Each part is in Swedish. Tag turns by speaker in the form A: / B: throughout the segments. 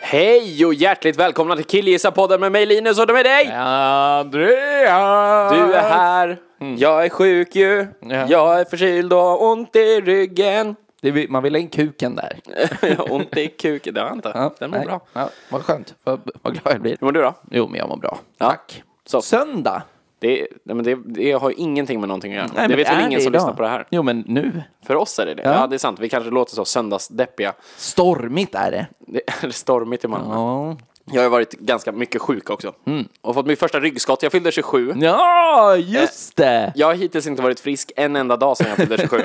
A: Hej och hjärtligt välkomna till Killgissa-podden med mig Linus och med dig!
B: Andreas! Mm.
A: Du är här, jag är sjuk ju,
B: Ja.
A: jag är förkyld och har ont i ryggen.
B: Det vill- man vill ha in kuken där.
A: jag har ont i kuken, det har jag inte. Den mår
B: nej.
A: bra.
B: Ja, vad skönt. Vad, vad glad jag blir.
A: Hur mår du då?
B: Jo, men jag mår bra.
A: Ja.
B: Tack.
A: Så.
B: Söndag.
A: Det, är- nej, men det, det har ju ingenting med någonting att göra.
B: men
A: det vet
B: är
A: väl ingen som
B: idag?
A: lyssnar på det här.
B: Jo, men nu.
A: För oss är det det. Ja,
B: Ja.
A: det är sant. Vi kanske låter så söndagsdeppiga.
B: Stormigt är det.
A: Det är stormigt i Malmö.
B: Ja. Mm.
A: Jag har ju varit ganska mycket sjuk också. Och fått mitt första ryggskott. Jag fyllde 27.
B: Ja, just det!
A: Jag har hittills inte varit frisk en enda dag sedan jag fyllde 27.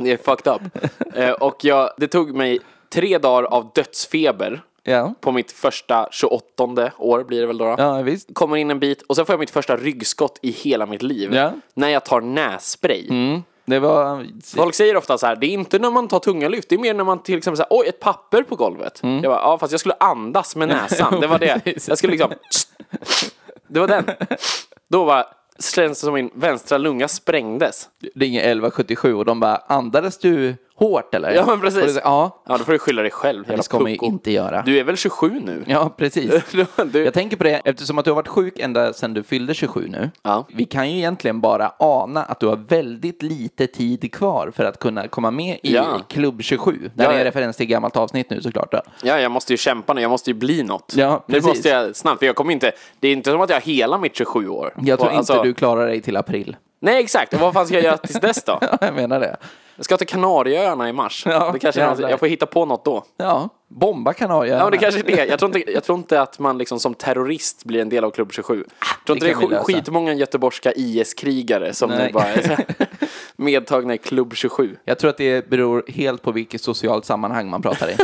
A: det är fucked up. Eh, och jag, det tog mig tre dagar av dödsfeber
B: Ja,
A: på mitt första 28 år blir det väl då. då.
B: ja visst.
A: Kommer in en bit och sen får jag mitt första ryggskott i hela mitt liv.
B: Ja.
A: När jag tar nässpray.
B: Det var...
A: Folk säger ofta så här, det är inte när man tar tunga lyft, det är mer när man till exempel säger oj, ett papper på golvet. Jag bara, ja fast jag skulle andas med näsan, det var det.
B: Mm. Precis.
A: Jag skulle liksom, det var den. Då var känns det som min vänstra lunga sprängdes.
B: Ringer 1177 och de bara, andades du hårt eller?
A: Ja, men
B: Och det
A: precis.
B: säger, Ja,
A: Ja, då får du skylla dig själv,
B: det
A: jävla
B: ska man ju
A: pucko.
B: inte göra.
A: Du är väl 27 nu?
B: Ja, precis.
A: Du-
B: Jag tänker på det eftersom att du har varit sjuk ända sedan du fyllde 27 nu.
A: Ja.
B: Vi kan ju egentligen bara ana att du har väldigt lite tid kvar för att kunna komma med i
A: Ja.
B: klubb 27. Det här
A: Ja,
B: är
A: ja.
B: en referens till gammalt avsnitt nu såklart. Då.
A: Ja, jag måste ju kämpa nu, jag måste ju bli något.
B: Ja,
A: nu
B: precis.
A: måste jag snabbt, för jag kommer inte, det är inte som att jag har hela mitt 27 år.
B: Jag tror
A: Och alltså-
B: inte du klarar dig till april.
A: Nej, exakt. Och vad fan ska jag göra tills dess då?
B: Ja, jag menar det.
A: Jag ska till Kanarieöarna i mars.
B: Ja,
A: det kanske är,
B: jävlar.
A: jag får hitta på något då.
B: Ja, bomba Kanarieöarna.
A: Ja, men det kanske är det. Jag tror, inte, jag tror inte att man liksom som terrorist blir en del av Klubb 27. Jag tror inte
B: Ah, det
A: det är
B: kan vi
A: sk-
B: lösa.
A: skitmånga göteborgska IS-krigare som nu
B: Nej.
A: bara är så här medtagna i Klubb 27.
B: Jag tror att det beror helt på vilket socialt sammanhang man pratar i.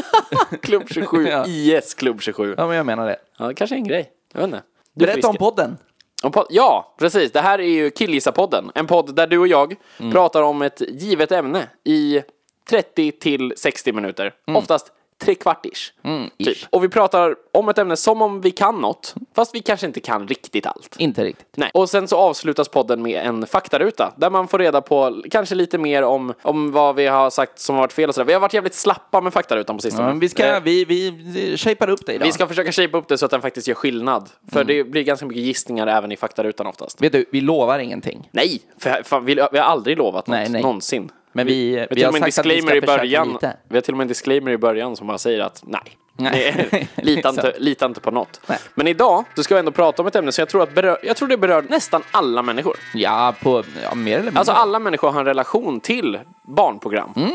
A: Klubb 27,
B: Ja.
A: IS Klubb 27.
B: ja, men jag menar det.
A: Ja, det kanske är en grej. Jag vet inte. Du
B: Berätta om podden.
A: Om podd- Ja, precis. Det här är ju Killgissa-podden. En podd där du och jag
B: Mm.
A: pratar om ett givet ämne i 30 till 60 minuter. Oftast trekvartish. Mm, typ.
B: Mm. ish.
A: Och vi pratar om ett ämne som om vi kan något, fast vi kanske inte kan riktigt allt.
B: Inte riktigt.
A: Nej. Och sen så avslutas podden med en faktaruta där man får reda på l- kanske lite mer om, om vad vi har sagt som har varit fel och sådär. Vi har varit jävligt slappa med faktarutan på sistone.
B: Ja, men vi, ska,
A: Eh,
B: vi, vi shapar upp dig idag.
A: vi ska försöka shapea upp det så att den faktiskt gör skillnad. För det blir ganska mycket gissningar även i faktarutan oftast.
B: Vet du, Mm. vi lovar ingenting.
A: Nej, för fan, vi, vi har aldrig lovat något,
B: Nej, nej.
A: någonsin.
B: Men vi- vi
A: har
B: har
A: till och med en
B: sagt att vi
A: disclaimer
B: ska
A: i början.
B: försöka lite.
A: Vi har till och med en disclaimer i början som bara säger att nej,
B: Nej.
A: nej. lita, inte,
B: Sant.
A: lita inte på något.
B: Nej.
A: Men idag så ska vi ändå prata om ett ämne som jag tror, att berör, jag tror det berör nästan alla människor.
B: Ja, på, ja mer eller mindre.
A: Alltså alla människor har en relation till barnprogram.
B: Mm.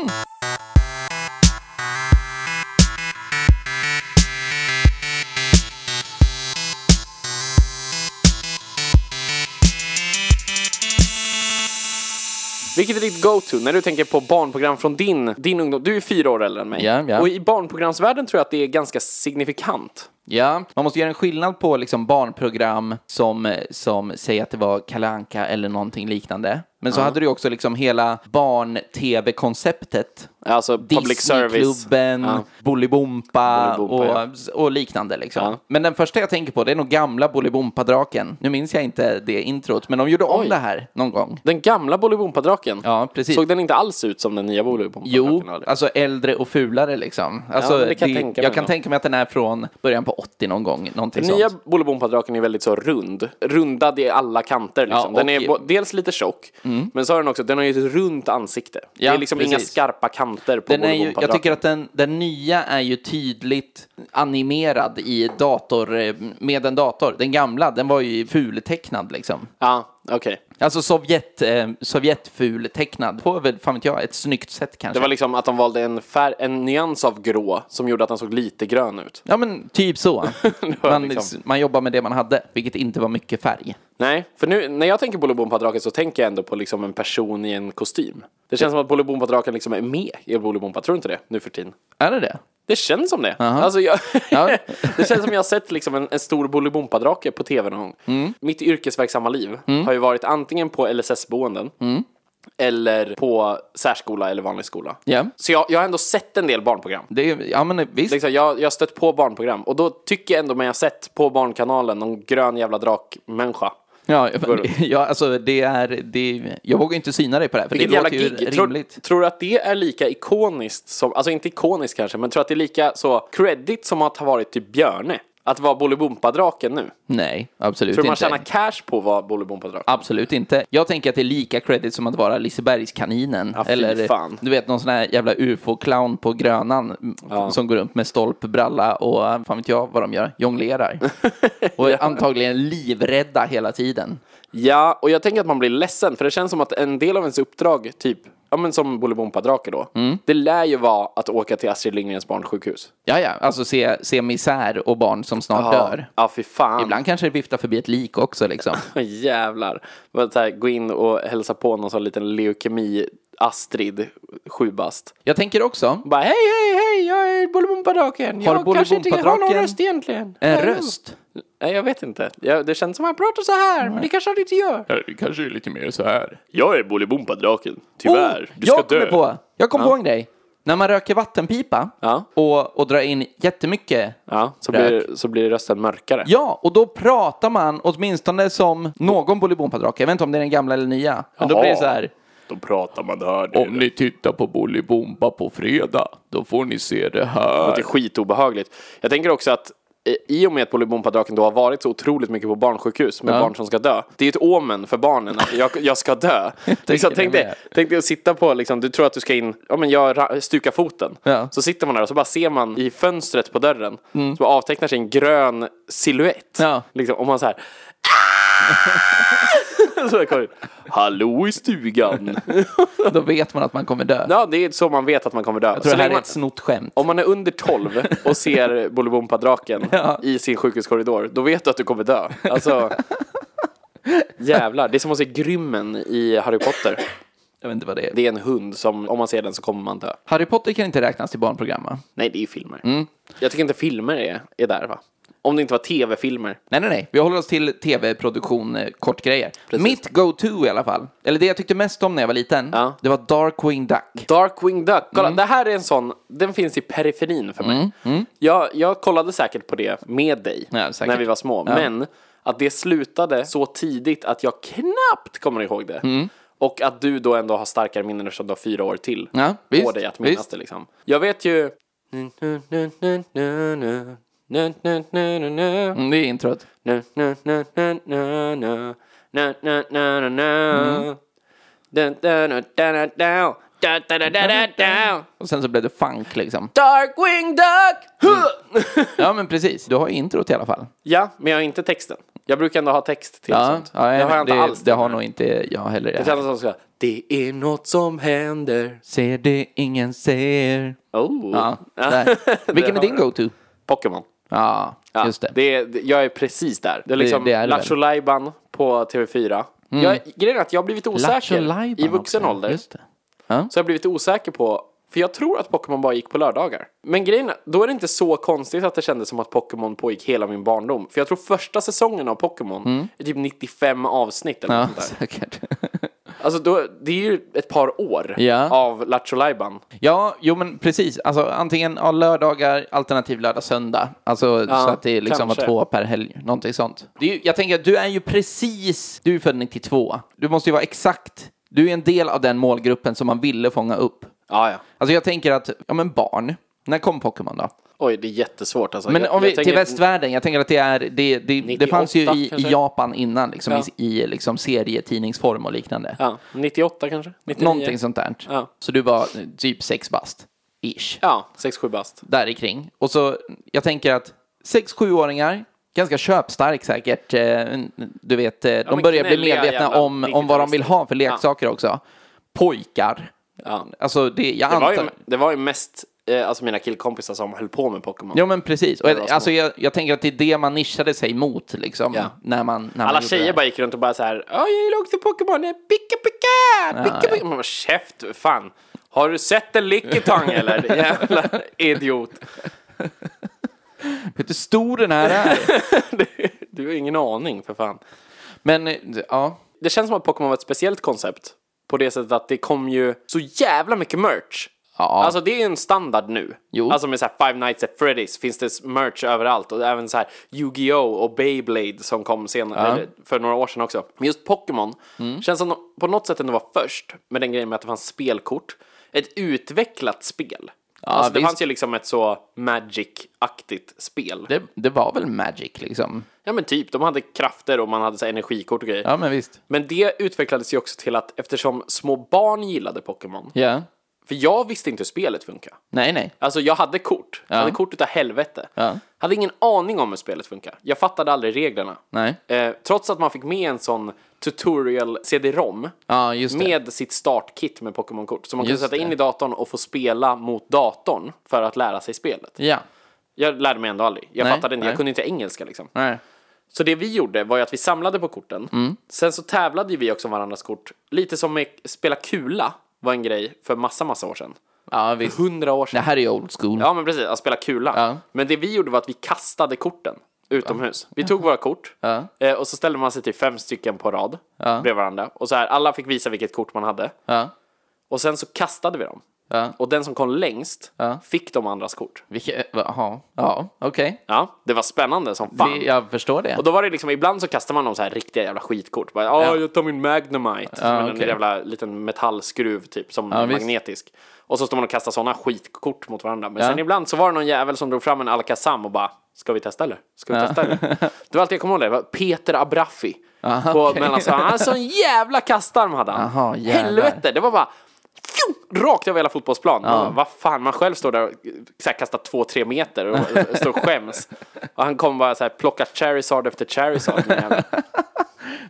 A: Vilket är ditt go-to när du tänker på barnprogram från din, din ungdom? Du är fyra år äldre än mig.
B: Ja, ja.
A: Och i barnprogramsvärlden tror jag att det är ganska signifikant.
B: Ja, man måste göra en skillnad på liksom barnprogram som, som säger att det var Kalle Anka eller någonting liknande. Men så hade du ju också liksom hela barn-tv-konceptet.
A: Alltså public service.
B: Disneyklubben,
A: Ja.
B: Bolibompa
A: Bolibompa,
B: och, och liknande. Liksom.
A: Ja.
B: Men den första jag tänker på det är nog gamla Bolibompa-draken. Nu minns jag inte det introt, men de gjorde om
A: Oj.
B: det här någon gång.
A: Den gamla Bolibompa-draken.
B: Ja, precis.
A: Såg den inte alls ut som den nya Bolibompa-draken?
B: Jo,
A: eller?
B: alltså äldre och fulare liksom. Alltså,
A: men det kan jag tänka mig
B: jag kan
A: då.
B: tänka mig att den är från början på 80 någon gång. Någonting
A: Den
B: sånt.
A: nya Bolibompa-draken är väldigt så rund, rundad i alla kanter liksom.
B: Ja,
A: Den är
B: och- Mm.
A: bo- dels lite tjock, men så har den också, den har ju ett runt ansikte. det
B: Ja,
A: är liksom inga
B: precis.
A: skarpa kanter på
B: Den är ju, jag tycker
A: Bolibompa-draken.
B: att den, den nya är ju tydligt animerad i dator, eh, med en dator. Den gamla, den var ju fultecknad liksom.
A: Ja, okej.
B: Alltså Sovjet, eh, Sovjetful tecknad på, väl, fan vet jag, ett snyggt sätt kanske.
A: Det var liksom att de valde en, färg, en nyans av grå som gjorde att den såg lite grön ut.
B: Ja men typ så.
A: var
B: man,
A: liksom-
B: man jobbar med det man hade, vilket inte var mycket färg.
A: Nej, för nu när jag tänker på Bolibompa-draken så tänker jag ändå på liksom en person i en kostym. Det känns som att Bolibompa-draken liksom är med i Bolibompa, tror du inte det? Nu för tiden.
B: Är det det?
A: Det känns som det. Alltså jag,
B: Ja.
A: det känns som jag har sett liksom en, en stor Bolibompa-drake på tv någon gång.
B: Mm.
A: Mitt yrkesverksamma liv har ju varit antingen på LSS-boenden
B: Mm.
A: eller på särskola eller vanlig skola.
B: Ja.
A: Så jag, jag har ändå sett en del barnprogram.
B: det är, ja men visst.
A: Liksom, jag, jag har stött på barnprogram och då tycker jag ändå mig ha sett på Barnkanalen någon grön jävla drakmänniska.
B: Ja,
A: runt.
B: ja, alltså det är, det, jag vågar ju inte syna dig på det här, för det
A: Vilket jävla
B: låter ju
A: gig. Tror,
B: rimligt.
A: tror du att det är lika ikoniskt som, alltså inte ikoniskt kanske, men tror du att det är lika så credit som att ha varit typ Björne? Att vara Bolibompa-draken nu?
B: Nej, absolut
A: Tror du man
B: inte.
A: tjänar cash på att vara Bolibompa-draken?
B: Absolut inte. Jag tänker att det är lika credit som att vara Lisebergskaninen.
A: Ja, fy
B: eller
A: fan.
B: du vet någon sån här jävla ufo-clown på Grönan m, som går runt med stolpbralla och fan vet jag vad de gör, jonglerar. och är antagligen livrädda hela tiden.
A: Ja, och jag tänker att man blir ledsen för det känns som att en del av ens uppdrag, typ, ja men som Bolibompa-drake då,
B: Mm.
A: det lär ju vara att åka till Astrid Lindgrens barnsjukhus.
B: Ja, ja, alltså se, se misär och barn som snart dör.
A: Ja, fy fan.
B: Ibland kanske det viftar förbi ett lik också liksom.
A: Åh, Jävlar. Bara så här, gå in och hälsa på någon sån liten leukemi-Astrid, sju bast.
B: Jag tänker också,
A: Bara hej, hej, hej, jag är Bolibompa-draken.
B: Har
A: Jag kanske inte har någon
B: Bolibompa-draken
A: röst egentligen.
B: en
A: Ja, ja.
B: röst. Mm.
A: Nej, jag vet inte. Jag, det känns som att han pratar så här, men det kanske han inte gör.
C: Det kanske är lite mer så här.
A: Jag är Bolibompa-draken, tyvärr.
B: Oh, jag kommer på, jag kom på en grej. När man röker vattenpipa
A: Ja.
B: och, och drar in jättemycket
A: Ja, så
B: Rök.
A: blir, så blir rösten mörkare.
B: Ja, och då pratar man åtminstone som någon Bolibompa-drake. Jag vet inte om det är den gamla eller nya. Men då
C: Jaha.
B: blir det så här.
C: Då pratar man det här. Om ni tittar på Bolibompa på fredag, då får ni se det
A: Det
C: här.
B: typ,
A: är skitobehagligt. Jag tänker också att eh, i och med att Bolibompa-draken då har varit så otroligt mycket på barnsjukhus med barn som ska dö. Det är ju ett omen för barnen att jag, jag ska dö. liksom,
B: det
A: tänk, dig,
B: med.
A: tänk dig att sitta på, liksom, du tror att du ska in, ja men jag ra- stukar foten.
B: Ja. Mm.
A: Så sitter man där och så bara ser man i fönstret på dörren, så bara avtecknar sig en grön silhuett.
B: Ja.
A: Liksom, och man så här. "Ah!" så jag kommer ut. Hallå i stugan.
B: Då vet man att man kommer dö.
A: ja, det är så man vet att man kommer dö.
B: jag tror
A: så
B: det här
A: länge
B: är
A: man,
B: ett snott skämt.
A: om man är under 12 och ser Bolibompa-draken
B: Ja.
A: i sin sjukhuskorridor, då vet du att du kommer dö. Alltså, jävlar. Det är som att se Grymmen i Harry Potter.
B: Jag vet inte vad det är.
A: Det är en hund som, om man ser den så kommer man dö.
B: Harry Potter kan inte räknas till barnprogram va?
A: Nej, det är ju filmer. Jag tycker inte filmer är, är där, va? Om det inte var tv-filmer.
B: Nej, nej, nej. Vi håller oss till tv-produktion, eh, kortgrejer. Mitt go-to i alla fall, eller det jag tyckte mest om när jag var liten,
A: Ja.
B: det var Darkwing Duck. Mm.
A: Darkwing Duck, kolla, det här är en sån, den finns i periferin för mig. Jag, jag kollade säkert på det med dig
B: Ja, säkert.
A: när vi var små, men att det slutade så tidigt att jag knappt kommer ihåg det.
B: Mm.
A: Och att du då ändå har starkare minnen eftersom du har fyra år till
B: Ja,
A: på
B: visst,
A: dig att minnas
B: visst.
A: det liksom. Jag vet ju...
B: Mm, det är introt.
A: Na, na, na, na, na, na. Na, na, na, na, na. Da, da, da, da, da, da. Da, da, da, da, da, da.
B: Och sen så blev det funk liksom.
A: Darkwing Duck! Huh!
B: Ja, men precis. Du har ju introt i alla fall.
A: ja, men jag har inte texten. Jag brukar ändå ha text till
B: Ja,
A: sånt.
B: ja,
A: det har jag inte
B: det,
A: alls.
B: det har nog inte jag heller.
A: Det känns som så här, Det är något som händer.
B: Ser det ingen ser.
A: Oh.
B: Ja, där. Vilken är
A: har
B: din
A: du.
B: go-to?
A: Pokémon.
B: Ja,
A: Ja,
B: just det.
A: är- det- jag är precis där. Det är liksom
B: det är det
A: Lattjo
B: väl.
A: Lajban på TV4. Jag, grejen är att jag har blivit osäker
B: Lattjo-lajban
A: i vuxen
B: också.
A: ålder.
B: Just det.
A: Så jag har blivit osäker på, för jag tror att Pokémon bara gick på lördagar. Men grejen är- då är det inte så konstigt att det kändes som att Pokémon pågick hela min barndom. För jag tror första säsongen av Pokémon är typ 95 avsnitt eller
B: Mm. Ja,
A: något sånt där.
B: säkert.
A: Alltså då, det är ju ett par år
B: Ja.
A: av Lattjo Lajban.
B: ja, jo men precis. Alltså antingen ja, lördagar, alternativ lördag, söndag. Alltså så att det liksom
A: kanske.
B: var två per helg, någonting sånt. Det är ju, jag tänker att du är ju precis, du är född 92. Du måste ju vara exakt, du är en del av den målgruppen som man ville fånga upp.
A: Ja, ja.
B: Alltså jag tänker att, ja men barn, när kom Pokémon då?
A: Oj, det är jättesvårt alltså.
B: Men
A: Jag-
B: om
A: jag
B: vi, till
A: tänker-
B: västvärlden, jag tänker att det är, det, det, det fanns ju
A: 98
B: i,
A: kanske?
B: i Japan innan, liksom,
A: Ja.
B: i, i liksom serietidningsform och liknande.
A: Ja, 98 kanske? 99?
B: Någonting sånt där.
A: Ja.
B: Så du var typ sex bast, ish,
A: Ja, 6-7 bast.
B: där i kring. Och så, jag tänker att sex, sjuåringar ganska köpstark säkert. eh, Du vet, eh, de
A: men
B: börjar bli
A: gnälliga
B: medvetna
A: jävla
B: om, om vad de vill ha för leksaker också. Pojkar.
A: Ja.
B: Alltså, det, jag
A: Det var ju,
B: antar...
A: det var ju mest eh, alltså mina killkompisar som höll på med Pokémon.
B: Ja men precis. Och,
A: Det var
B: alltså,
A: smart.
B: jag, jag tänker att det är det man nischade sig mot liksom.
A: Ja.
B: När man, när man
A: Alla
B: gjorde det
A: tjejer
B: här.
A: bara gick runt och bara så här, "Ja, jag gillar också Pokémon, eh, picka picka, picka
B: ja.
A: picka. Man bara, käft, fan. Har du sett en Lickitang eller? Jävla idiot.
B: Vet du hur stor den här är?
A: Du har ingen aning för fan.
B: men eh, ja.
A: Det känns som att Pokémon var ett speciellt koncept. På det sättet att det kom ju så jävla mycket merch.
B: Ja.
A: Alltså det är ju en standard nu.
B: Jo.
A: Alltså med så här Five Nights at Freddy's finns det merch överallt. Och även så här Yu-Gi-Oh! och Beyblade som kom senare, eller för några år sedan också. Men just Pokémon
B: Mm.
A: känns som de på något sätt ändå var först med den grejen med att det fanns spelkort. Ett utvecklat spel. alltså det
B: visst.
A: fanns ju liksom ett så Magic-aktigt spel.
B: Det, det var väl Magic liksom.
A: Ja men typ, de hade krafter och man hade så här energikort och grejer.
B: Ja men visst.
A: Men det utvecklades ju också till att eftersom små barn gillade Pokémon,
B: Ja.
A: för jag visste inte hur spelet funkar.
B: Nej nej.
A: Alltså jag hade kort, jag hade kort utav helvete.
B: Ja.
A: Hade ingen aning om hur spelet funkar. Jag fattade aldrig reglerna.
B: Nej.
A: Eh, trots att man fick med en sån tutorial CD-ROM
B: Ja just det.
A: med sitt startkit med Pokémon-kort. Som man kunde
B: Just
A: sätta in
B: det.
A: i datorn och få spela mot datorn för att lära sig spelet.
B: Ja.
A: Jag lärde mig ändå aldrig. Jag
B: Nej,
A: fattade inte, jag
B: nej.
A: kunde inte engelska liksom.
B: Nej.
A: Så det vi gjorde var ju att vi samlade på korten.
B: Mm.
A: Sen så tävlade ju vi också om varandras kort. Lite som med spela kula var en grej för massa, massa år sedan.
B: Ja visst.
A: Hundra år
B: Det
A: sedan.
B: här är old school.
A: Ja, men precis. Att spela kula.
B: Ja.
A: Men det vi gjorde var att vi kastade korten utomhus. Vi tog våra kort
B: Ja.
A: eh, och så ställde man sig till fem stycken på rad bredvid varandra. Och så här, alla fick visa vilket kort man hade.
B: Ja.
A: Och sen så kastade vi dem.
B: Ja.
A: Och den som kom längst
B: Ja.
A: fick de andras kort.
B: Vilket, jaha. Ja okej.
A: Ja, det var spännande som fan.
B: Det- Jag förstår det.
A: Och då var det liksom, ibland så kastar man de så här riktiga jävla skitkort. Bara, ja, jag tar min Magnemite. som är en
B: okej.
A: jävla liten metallskruv typ, som är
B: visst.
A: magnetisk. Och så står man och kastar sådana skitkort mot varandra. Men
B: Ja.
A: sen ibland så var det någon jävel som drog fram en Alakazam och bara, ska vi testa eller? Ska vi testa eller? Det var alltid jag kommer ihåg det, det var Peter Abraffi. på
B: okej.
A: mellan, så, han hade sån jävla kastarm hade han.
B: Aha, jävlar.
A: Helvete, det var bara Fju! Rakt över hela fotbollsplan. Man bara, Vad fan, man själv står där och så här, kastar två, tre meter och står och skäms. Och han kommer bara så här plocka Charizard efter Charizard. den jäveln.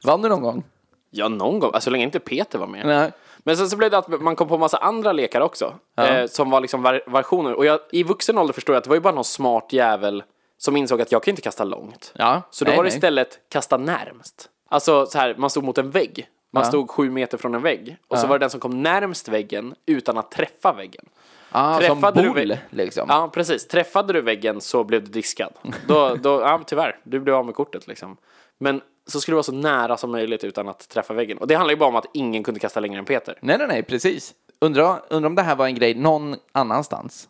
B: Vann du någon gång?
A: Ja, någon gång. Alltså, så länge inte Peter var med.
B: Nej.
A: Men sen så blev det att man kom på massa andra lekar också. Eh, som var liksom ver- versioner. Och jag, i vuxen ålder förstår jag att det var ju bara någon smart jävel som insåg att jag kan inte kasta långt.
B: Ja.
A: Så då
B: nej,
A: var det
B: nej.
A: istället kasta närmst. Alltså så här, man stod mot en vägg. Man stod sju meter från en vägg. Och så var det den som kom närmst väggen utan att träffa väggen.
B: ah, som
A: träffade du
B: boll
A: väl-
B: liksom.
A: Ja, precis. Träffade du väggen så blev du diskad. Då, då, ja, tyvärr, du blev av med kortet liksom. Men så skulle det vara så nära som möjligt utan att träffa väggen. Och det handlar ju bara om att ingen kunde kasta längre än Peter.
B: Nej nej nej precis. Undrar undra om det här var en grej någon annanstans.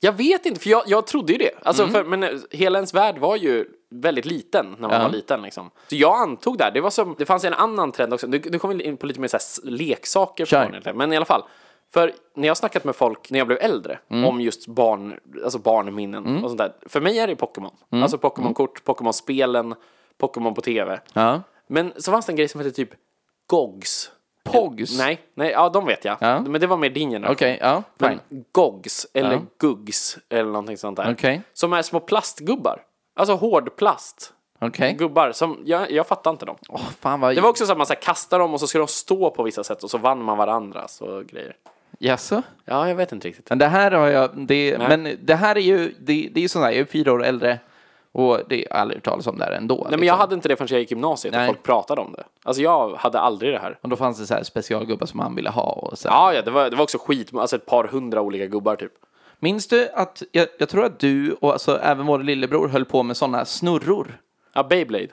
A: Jag vet inte, för jag, jag trodde ju det. Alltså,
B: Mm.
A: för, men eh, hela ens värld var ju väldigt liten när man var liten. Liksom. Så jag antog det här. Det, var som, det fanns en annan trend också. Nu, nu kommer vi in på lite mer så här s- leksaker. För
B: Kör.
A: barn, egentligen. men i alla fall. För när jag har snackat med folk när jag blev äldre
B: Mm.
A: om just barn, alltså barnminnen och sånt där. För mig är det Pokémon.
B: Mm.
A: Alltså Pokémon-kort, Pokémon-spelen, Pokémon på TV.
B: Ja.
A: Men så fanns det en grej som hette typ GOGS.
B: Pogs.
A: Nej, nej, ja de vet jag.
B: Ja.
A: Men det var mer din generation.
B: Okej, ja. Fine.
A: Men GOGS eller GUGS eller någonting sånt där.
B: Okej.
A: Som är små plastgubbar. Alltså hårdplast.
B: Okej.
A: Gubbar som, jag, jag fattar inte dem.
B: Åh, fan vad...
A: Det var också så att man så här kastar dem och så skulle de stå på vissa sätt och så vann man varandras och grejer.
B: Jaså?
A: Ja, jag vet inte riktigt.
B: Men det här har jag... Det, men det här är ju... Det, det är ju sånt där, jag är fyra år äldre. Och det har jag aldrig hört talas om det här ändå. liksom.
A: Nej, men jag hade inte det förrän jag gick gymnasiet och
B: Nej.
A: folk pratade om det. Alltså jag hade aldrig det här.
B: Och då fanns det så här specialgubbar som han ville ha och så.
A: Ja, ja, det var, det var också skit, alltså ett par hundra olika gubbar typ.
B: Minns du att... Jag, jag tror att du och alltså även vår lillebror höll på med sådana snurror.
A: Ja, Beyblade.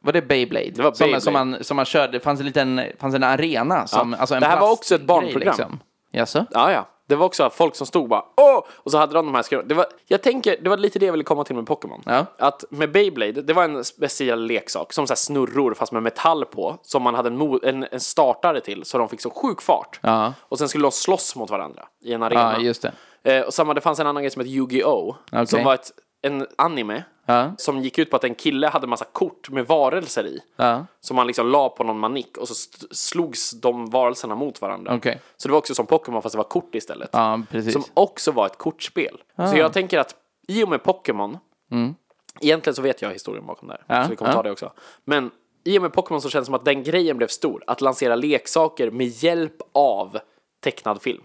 B: Var det Beyblade?
A: var
B: Som,
A: Beyblade.
B: som, man, som man körde, det fanns en liten fanns en arena som, alltså en
A: Det här var också ett
B: plastgrej, liksom.
A: barnprogram.
B: Jaså?
A: Ja, ja. Det var också folk som stod bara åh! Och så hade de de här skruvarna. Det var, jag tänker, det var lite det jag ville komma till med Pokémon.
B: Ja.
A: Att med Beyblade, det var en speciell leksak, som så här snurror fast med metall på, som man hade en, mo- en, en startare till, så de fick så sjuk fart.
B: Ja.
A: Och sen skulle de slåss mot varandra i en arena.
B: Ja, just det.
A: Eh, och samma, det fanns en annan grej som hette Yu-Gi-Oh!
B: Okej.
A: Som var ett, en anime.
B: Ja.
A: Som gick ut på att en kille hade massa kort med varelser i.
B: Ja.
A: Som man liksom la på någon manik och så st- slogs de varelserna mot varandra.
B: Okej.
A: Så det var också som Pokémon fast det var kort istället.
B: Ja, precis. Ah.
A: Som också var ett kortspel. Så jag tänker att i och med Pokémon Egentligen så vet jag historien bakom det här,
B: Mm. Ja,
A: så vi kommer
B: ja.
A: ta det också. Men i och med Pokémon så känns det som att den grejen blev stor. Att lansera leksaker med hjälp av tecknad film.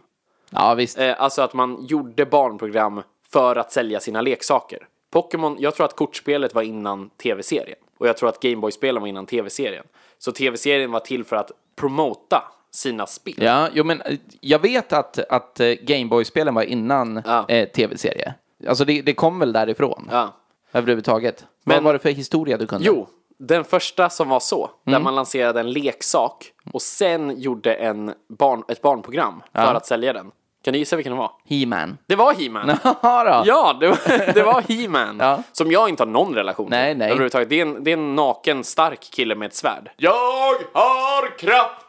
B: Ja, visst.
A: Eh, alltså att man gjorde barnprogram för att sälja sina leksaker. Pokémon, jag tror att kortspelet var innan tv-serien. Och jag tror att Gameboy-spelen var innan tv-serien. Så tv-serien var till för att promota sina spel.
B: Ja, jo, men eh, jag vet att, att eh, Gameboy-spelen var innan
A: Ja.
B: eh, tv-serie. Alltså det, det kom väl därifrån
A: Ja.
B: överhuvudtaget.
A: Men-
B: Vad var det för historia du kunde?
A: Jo, den första som var så, där man lanserade en leksak och sen gjorde en barn, ett barnprogram för att sälja den. Kan du gissa vilken det var?
B: He-Man.
A: Det var He-Man!
B: Jaha då.
A: Ja, det var, det var He-Man!
B: Ja.
A: Som jag inte har någon relation till.
B: Nej, nej.
A: Överhuvudtaget. Det är, en, det är en naken, stark kille med ett svärd.
C: Jag har kraften!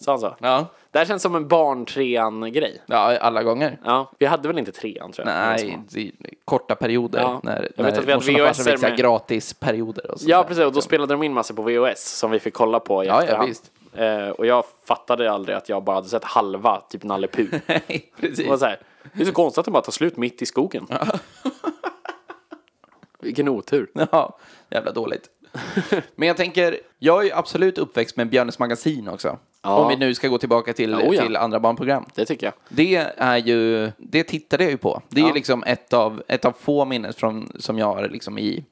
A: Så han sa.
B: Ja.
A: Det här känns som en barntrean-grej.
B: Ja, alla gånger.
A: Ja, vi hade väl inte trean tror jag.
B: Nej, i korta perioder.
A: Ja.
B: När,
A: Jag vet att vi
B: när
A: hade
B: morsan och farsan
A: VHS-er
B: fick så här
A: med-
B: gratisperioder och sånt
A: Ja,
B: där.
A: precis. Och då spelade de in massor på VHS som vi fick kolla på i
B: Ja, ja,
A: efterhand.
B: visst.
A: Eh, och jag fattade aldrig att jag bara hade sett halva, typ Nalle Puh.
B: Nej, precis.
A: Det var så här, det är så konstigt att de bara tar slut mitt i skogen. Vilken otur.
B: Ja, jävla dåligt. Men jag tänker, jag är ju absolut uppväxt med Björnes magasin också. Om vi nu ska gå tillbaka till,
A: Ja, oh ja.
B: till andra barnprogram.
A: Det tycker jag.
B: Det är ju, det tittade jag ju på. Det är ju liksom ett av, ett av få minnen från, som jag har liksom i,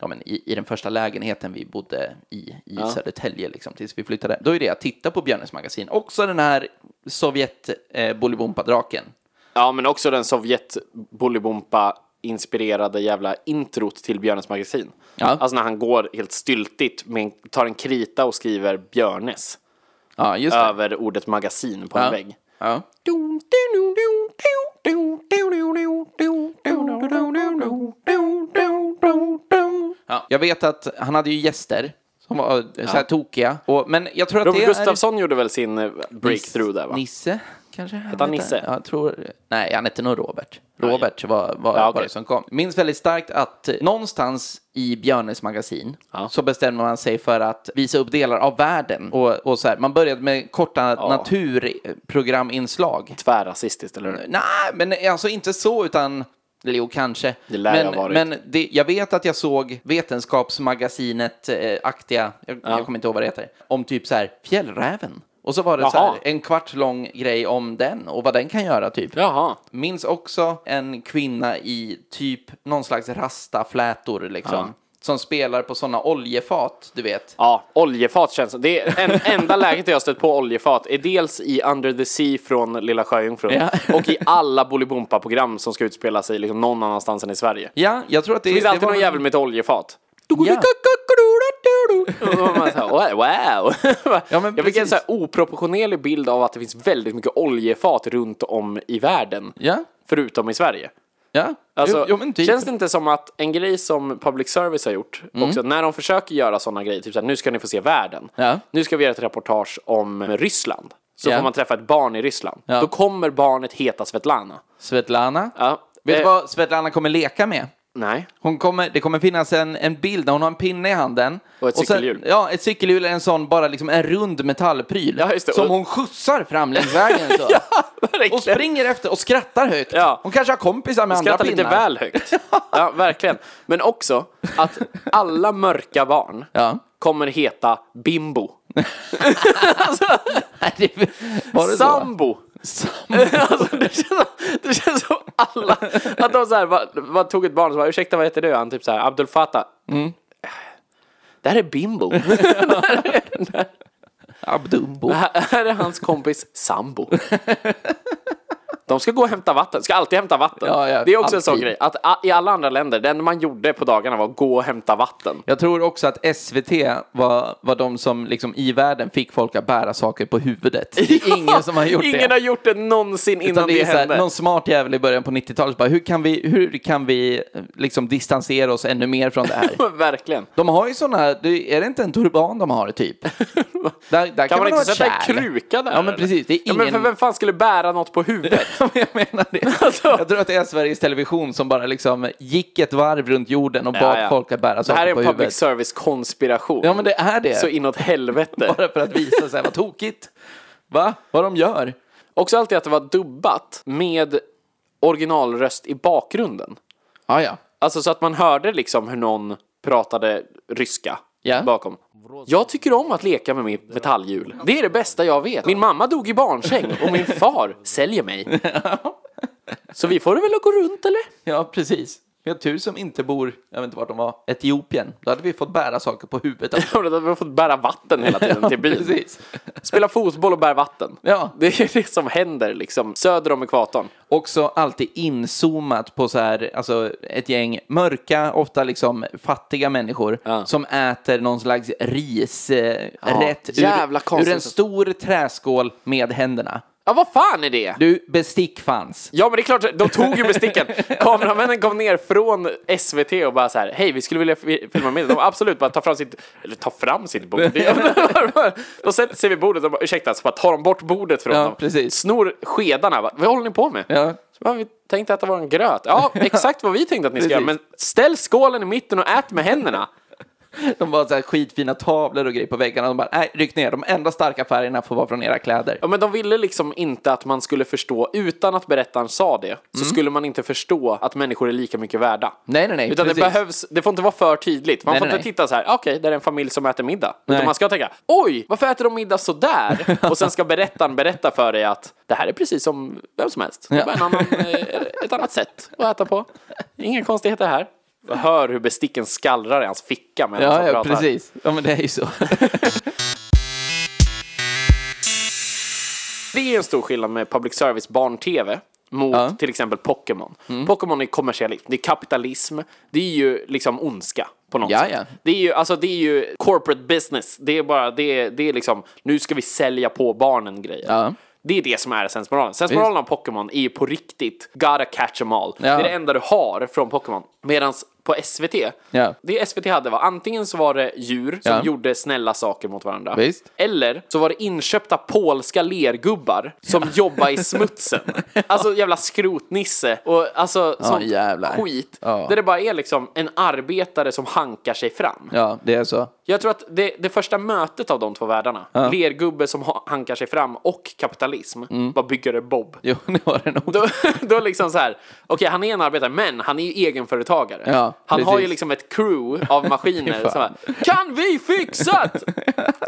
B: ja men i, i den första lägenheten vi bodde i, i Södertälje liksom, tills vi flyttade. Då är det att titta på Björnes magasin. Också den här Sovjet eh, Bolibompa-draken.
A: Ja, men också den Sovjet Bolibompa inspirerade jävla introt till Björnes magasin.
B: Ja.
A: Alltså när han går helt styltigt, med en, tar en krita och skriver Björnes
B: Ja, just det.
A: över ordet magasin på en
B: Ja.
A: vägg.
B: Ja. Ja, jag vet att han hade ju gäster som var eh, så här tokiga. Och, men jag tror att
A: Robert
B: det
A: Gustafsson gjorde väl sin eh,
B: är...
A: breakthrough där va?
B: Nisse, kanske? Hette
A: han Nisse?
B: Ja, jag tror... Nej, han hette nog Robert. Robert var, var,
A: Ja, okej.
B: var det som kom. Minns väldigt starkt att eh, någonstans i Björnes magasin så bestämde man sig för att visa upp delar av världen. Och, och så här, man började med korta naturprograminslag.
A: Tvärrasistiskt, eller hur?
B: Nej, men alltså inte så, utan... Eller jo, kanske.
A: Det lär
B: men
A: jag ha varit.
B: men det, jag vet att jag såg Vetenskapsmagasinet-aktiga, jag, jag kommer inte ihåg vad det heter, om typ så här fjällräven. Och så var det så
A: Jaha.
B: här, en kvart lång grej om den och vad den kan göra typ.
A: Jaha.
B: Minns också en kvinna i typ någon slags rastaflätor liksom. Som spelar på sådana oljefat, du vet.
A: Ja, oljefat känns som. Det är en, enda läget jag har stött på oljefat är dels i Under the Sea från Lilla Sjöjungfrun
B: Ja.
A: och i alla Bolibompa-program som ska utspela sig liksom någon annanstans än i Sverige.
B: Ja, jag tror att det...
A: Det finns
B: det
A: alltid
B: var
A: någon
B: väl-
A: jävel med ett oljefat.
B: Ja.
A: Och man så här, "Wow, Wow!
B: Ja, men
A: jag fick en
B: precis.
A: så här oproportionerlig bild av att det finns väldigt mycket oljefat runt om i världen,
B: Ja,
A: förutom i Sverige.
B: ja.
A: Alltså,
B: jo, jo, men typ.
A: Känns det inte som att en grej som public service har gjort,
B: Mm.
A: också, när de försöker göra sådana grejer, typ såhär, nu ska ni få se världen,
B: Ja.
A: nu ska vi göra ett reportage om Ryssland, så
B: Ja.
A: får man träffa ett barn i Ryssland,
B: Ja.
A: då kommer barnet heta Svetlana.
B: Svetlana.
A: Ja.
B: Vet du
A: Eh,
B: vad Svetlana kommer leka med?
A: Nej.
B: Hon kommer, det kommer finnas en, en bild där hon har en pinne i handen.
A: Och ett
B: sen-
A: cykelhjul.
B: Ja, ett cykelhjul är en sån, bara liksom en rund metallpryl.
A: Ja, just det.
B: Som
A: Och-
B: hon skjutsar fram längs vägen. Så. och springer efter och skrattar högt.
A: Ja.
B: Hon kanske har kompisar med andra
A: Skratta lite
B: pinnar.
A: väl högt. Ja, verkligen. Men också att alla mörka barn
B: Ja.
A: kommer heta Bimbo.
B: Var det så?
A: Sambo! alltså, det, känns som, det känns som alla, att de så här, bara, bara tog ett barn och så bara, ursäkta vad heter du? Han typ så här, Abdul Fattah.
B: Mm.
A: Det här är Bimbo.
B: Abdumbo.
A: Det här är hans kompis Sambo. De ska gå och hämta vatten, ska alltid hämta vatten.
B: Ja, ja,
A: det är också en sån
B: alltid.
A: grej, att a- i alla andra länder, det enda man gjorde på dagarna var att gå och hämta vatten.
B: Jag tror också att SVT var, var de som liksom i världen fick folk att bära saker på huvudet. Det är ingen som har gjort det.
A: Ingen har gjort det någonsin innan
B: Utan
A: det,
B: det är så
A: hände.
B: här, någon smart jävel i början på 90-talet bara, hur kan vi, hur kan vi eh, liksom distansera oss ännu mer från det här?
A: Verkligen.
B: De har ju sådana, det- är det inte en turban de har typ? Där, där kan,
A: Kan man inte
B: ha ett
A: sätta en
B: kärl.
A: kruka där?
B: Ja men
A: eller?
B: precis, det är
A: Ja,
B: ingen...
A: men för vem fan skulle bära något på huvudet?
B: jag menar det.
A: Alltså.
B: Jag tror att det är Sveriges Television som bara liksom gick ett varv runt jorden och bad folk att bära
A: Det här
B: saker
A: är en
B: på
A: public
B: huvudet.
A: service-konspiration.
B: Ja men det är det.
A: Så inåt helvete.
B: Bara för att visa sig vad tokigt. Va? Vad de gör.
A: Också alltid att det var dubbat med originalröst i bakgrunden.
B: Ah, ja.
A: Alltså så att man hörde liksom hur någon pratade ryska
B: Ja.
A: bakom. Jag tycker om att leka med mitt metallhjul. Det är det bästa jag vet. Min mamma dog i barnsäng och min far säljer mig. Så vi får väl gå runt eller?
B: Ja, precis. Vi har tur som inte bor, jag vet inte vart de var, Etiopien. Då hade vi fått bära saker på huvudet. alltså.
A: Tror du att Vi har fått bära vatten hela tiden till byn.
B: precis.
A: Spela fotboll och bära vatten.
B: Ja.
A: Det är ju det som händer liksom söder om ekvatorn.
B: Också alltid inzoomat på så här, alltså ett gäng mörka, ofta liksom fattiga människor
A: Ja.
B: som äter någon slags risrätt
A: Ja,
B: rätt
A: jävla
B: ur,
A: konstigt.
B: ur en stor träskål med händerna.
A: Ja, vad fan är det?
B: Du, bestick fanns.
A: Ja, men det är klart, de tog ju besticken. Kameramännen kom ner från SVT och bara så här, hej, vi skulle vilja fi- filma med dig." De absolut bara tar fram sitt, eller tar fram sitt bord. de sätter sig vid bordet och bara, ursäkta, så bara tar de bort bordet från
B: Ja,
A: dem.
B: precis.
A: Snor skedarna, bara, vad håller ni på med?
B: Ja.
A: Så bara, vi tänkte äta våran gröt. Ja, exakt vad vi tänkte att ni ska göra,
B: Precis.
A: men ställ skålen i mitten och ät med händerna.
B: De var så här skitfina tavlor och grejer på väggarna. De bara, nej, ryck ner. De enda starka färgerna får vara från era kläder.
A: Ja, men de ville liksom inte att man skulle förstå, utan att berättaren sa det, så skulle man inte förstå att människor är lika mycket värda.
B: Mm. Nej, nej, nej,
A: Utan det
B: precis.
A: behövs, det får inte vara för tydligt. Man
B: Nej,
A: får
B: nej,
A: inte
B: nej.
A: titta så här, okej, där är en familj som äter middag. Utan
B: Nej.
A: man ska tänka, oj, varför äter de middag så där? Och sen ska berättaren berätta för dig att det här är precis som vem som helst. Det är
B: Ja.
A: bara en annan, eh, ett annat sätt att äta på. Inga konstigheter här. Jag hör hur besticken skallrar i hans ficka medan han
B: Ja, ja,
A: pratar.
B: precis. Ja, men det är ju så.
A: Det är en stor skillnad med public service barn-tv mot till exempel Pokémon. Pokémon är kommersialism, det är kapitalism, det är ju liksom ondska på något
B: Ja,
A: sätt.
B: ja.
A: Det är ju, alltså det är ju corporate business, det är bara, det är, det är liksom, nu ska vi sälja på barnen grejer.
B: Ja.
A: Det är det som är sensmoralen. Sensmoralen av Pokémon är ju på riktigt gotta catch em all. Det är det enda du har från Pokémon. Medan på SVT,
B: Ja.
A: det SVT hade var antingen så var det djur som
B: Ja.
A: gjorde snälla saker mot varandra.
B: Visst.
A: Eller så var det inköpta polska lergubbar som jobbade i smutsen. Alltså jävla skrotnisse och alltså sånt
B: jävlar.
A: skit.
B: Ja.
A: Där det bara är liksom en arbetare som hankar sig fram.
B: Ja, det är så.
A: Jag tror att det, det första mötet av de två världarna, lergubbe som ha- hankar sig fram och kapitalism,
B: Mm.
A: var byggare Bob.
B: Jo, det var det nog.
A: Då, då liksom så här, okej han är en arbetare men han är ju egenföretagare.
B: Ja,
A: han har ju
B: precis.
A: liksom ett crew av maskiner
B: Fy
A: som bara,
B: fan.
A: kan vi fixa det?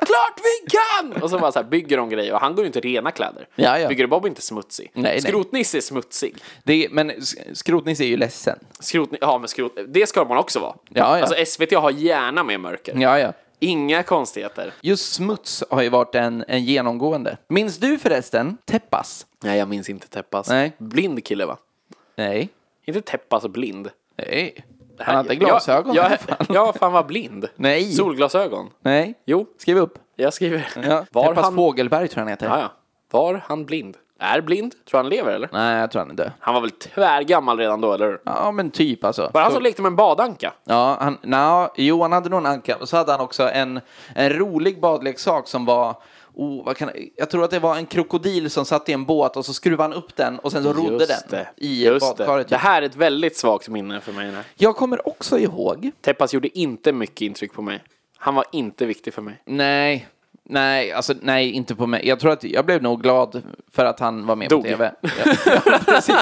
A: Klart vi kan! Och så bara så här bygger de grejer och han går ju inte i rena kläder.
B: Ja, ja.
A: Bygger Bob är inte smutsig.
B: Nej, nej.
A: Skrotnisse är smutsig.
B: Det är, men sk- Skrotnisse är ju ledsen.
A: Skrot, ja, men skrot, det ska man också vara.
B: Ja, ja.
A: Alltså SVT har gärna med mörker.
B: Ja, ja.
A: Inga konstigheter.
B: Just smuts har ju varit en, en genomgående. Minns du förresten Teppas?
A: Nej, jag minns inte Teppas.
B: Nej.
A: Blind kille va?
B: Nej.
A: Inte Teppas blind.
B: Nej. Han hade glasögon i
A: Jag,
B: alla
A: jag,
B: fall.
A: ja, fan vad blind.
B: Nej.
A: Solglasögon.
B: Nej.
A: Jo,
B: Skriv upp.
A: jag skriver.
B: Ja. typ
A: Var,
B: Teppas
A: han,
B: Fågelberg tror jag han heter.
A: ja, ja. var han blind? Är blind? Tror han lever eller?
B: Nej, jag tror han är död.
A: Han var väl tvärgammal redan då, eller hur?
B: Ja, men typ alltså.
A: Var det han som lekte med en badanka?
B: Ja, han, no, jo, han hade nog en anka. Och så hade han också en, en rolig badleksak som var... Oh, vad kan, jag tror att det var en krokodil som satt i en båt och så skruvade han upp den och sen så rodde den i
A: Just det.
B: badkaret.
A: det här är ett väldigt svagt minne för mig. Här.
B: Jag kommer också ihåg...
A: Teppas gjorde inte mycket intryck på mig. Han var inte viktig för mig.
B: Nej, nej, alltså nej, inte på mig. Jag tror att jag blev nog glad för att han var med
A: Dog.
B: på tv. Ja, ja, precis.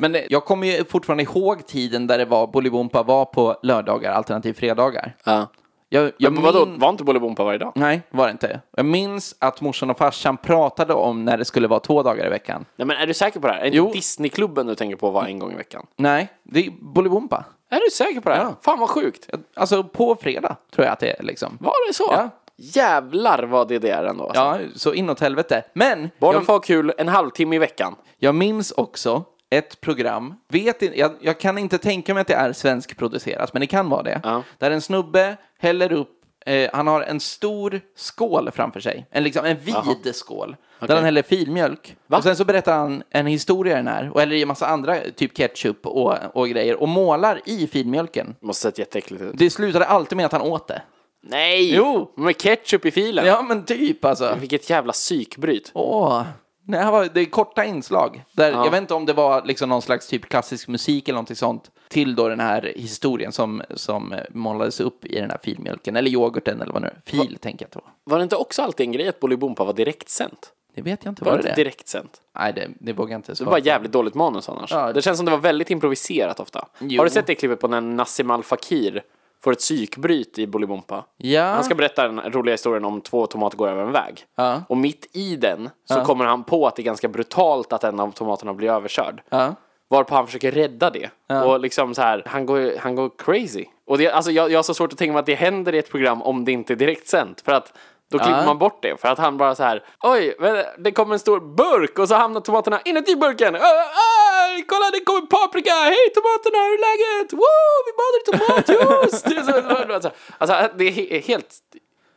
B: Men eh, jag kommer ju fortfarande ihåg tiden där det var Bolibompa var på lördagar alternativt fredagar.
A: Ja.
B: Jag, jag
A: Men vadå,
B: min-
A: var inte Bolibompa varje dag?
B: Nej, var det inte. Jag minns att morsan och farsan pratade om när det skulle vara två dagar i veckan.
A: Nej men är du säker på det här? Är det
B: Jo.
A: inte Disneyklubben du tänker på var en gång i veckan?
B: Nej, det är Bolibompa.
A: Är du säker på det här?
B: Ja.
A: Fan vad sjukt.
B: Alltså på fredag tror jag att det är liksom.
A: Var det så?
B: Ja.
A: Jävlar vad det är ändå. Alltså.
B: Ja, så inåt helvete. Men
A: Barnen
B: jag,
A: får ha kul en halvtimme i veckan.
B: jag minns också ett program, vet inte, jag, jag kan inte tänka mig att det är svenskproducerat, men det kan vara det.
A: Ja.
B: Där en snubbe häller upp, eh, han har en stor skål framför sig, en, liksom, en vid skål, där han häller filmjölk. Och sen så berättar han en historia i den här, och häller i en massa andra, typ ketchup och, och grejer, och målar i filmjölken.
A: Det måste sett jätteäckligt ut.
B: Det slutade alltid med att han åt det.
A: Nej!
B: Jo.
A: Med ketchup i filen.
B: Ja, men typ alltså.
A: Vilket jävla psykbryt.
B: Åh. Nej, det här var, det är korta inslag. Där, Jag vet inte om det var liksom någon slags typ klassisk musik eller någonting sånt till då den här historien som, som målades upp i den här filmjölken, eller yoghurten eller vad nu Fil tänker jag att det var.
A: Var det inte också alltid en grej att Bolibompa var direktsänt?
B: Det vet jag inte.
A: Var
B: Var
A: det
B: det
A: inte
B: det?
A: direkt sent?
B: Nej, det, det vågar jag inte
A: Det
B: svara
A: var
B: på.
A: jävligt dåligt manus annars.
B: Ja.
A: Det känns som det var väldigt improviserat ofta.
B: Jo.
A: Har du sett det klippet på när Nassim Al Fakir får ett psykbryt i Bolibompa?
B: Ja.
A: Han ska berätta den roliga historien om två tomater går över en väg.
B: Ja.
A: Och mitt i den så kommer han på att det är ganska brutalt att en av tomaterna blir överkörd.
B: Ja.
A: Varpå han försöker rädda det. Och liksom så här, han går, han går crazy. Och det, alltså jag, jag har så svårt att tänka mig att det händer i ett program om det inte är direkt sänt. För att då klipper man bort det. För att han bara så här, oj, men det kommer en stor burk och så hamnar tomaterna inuti burken. Äh, äh, kolla, det kommer paprika! Hej tomaterna, hur är läget? Woo, vi badar i tomatjuice! Det är så- alltså, alltså, det är he- helt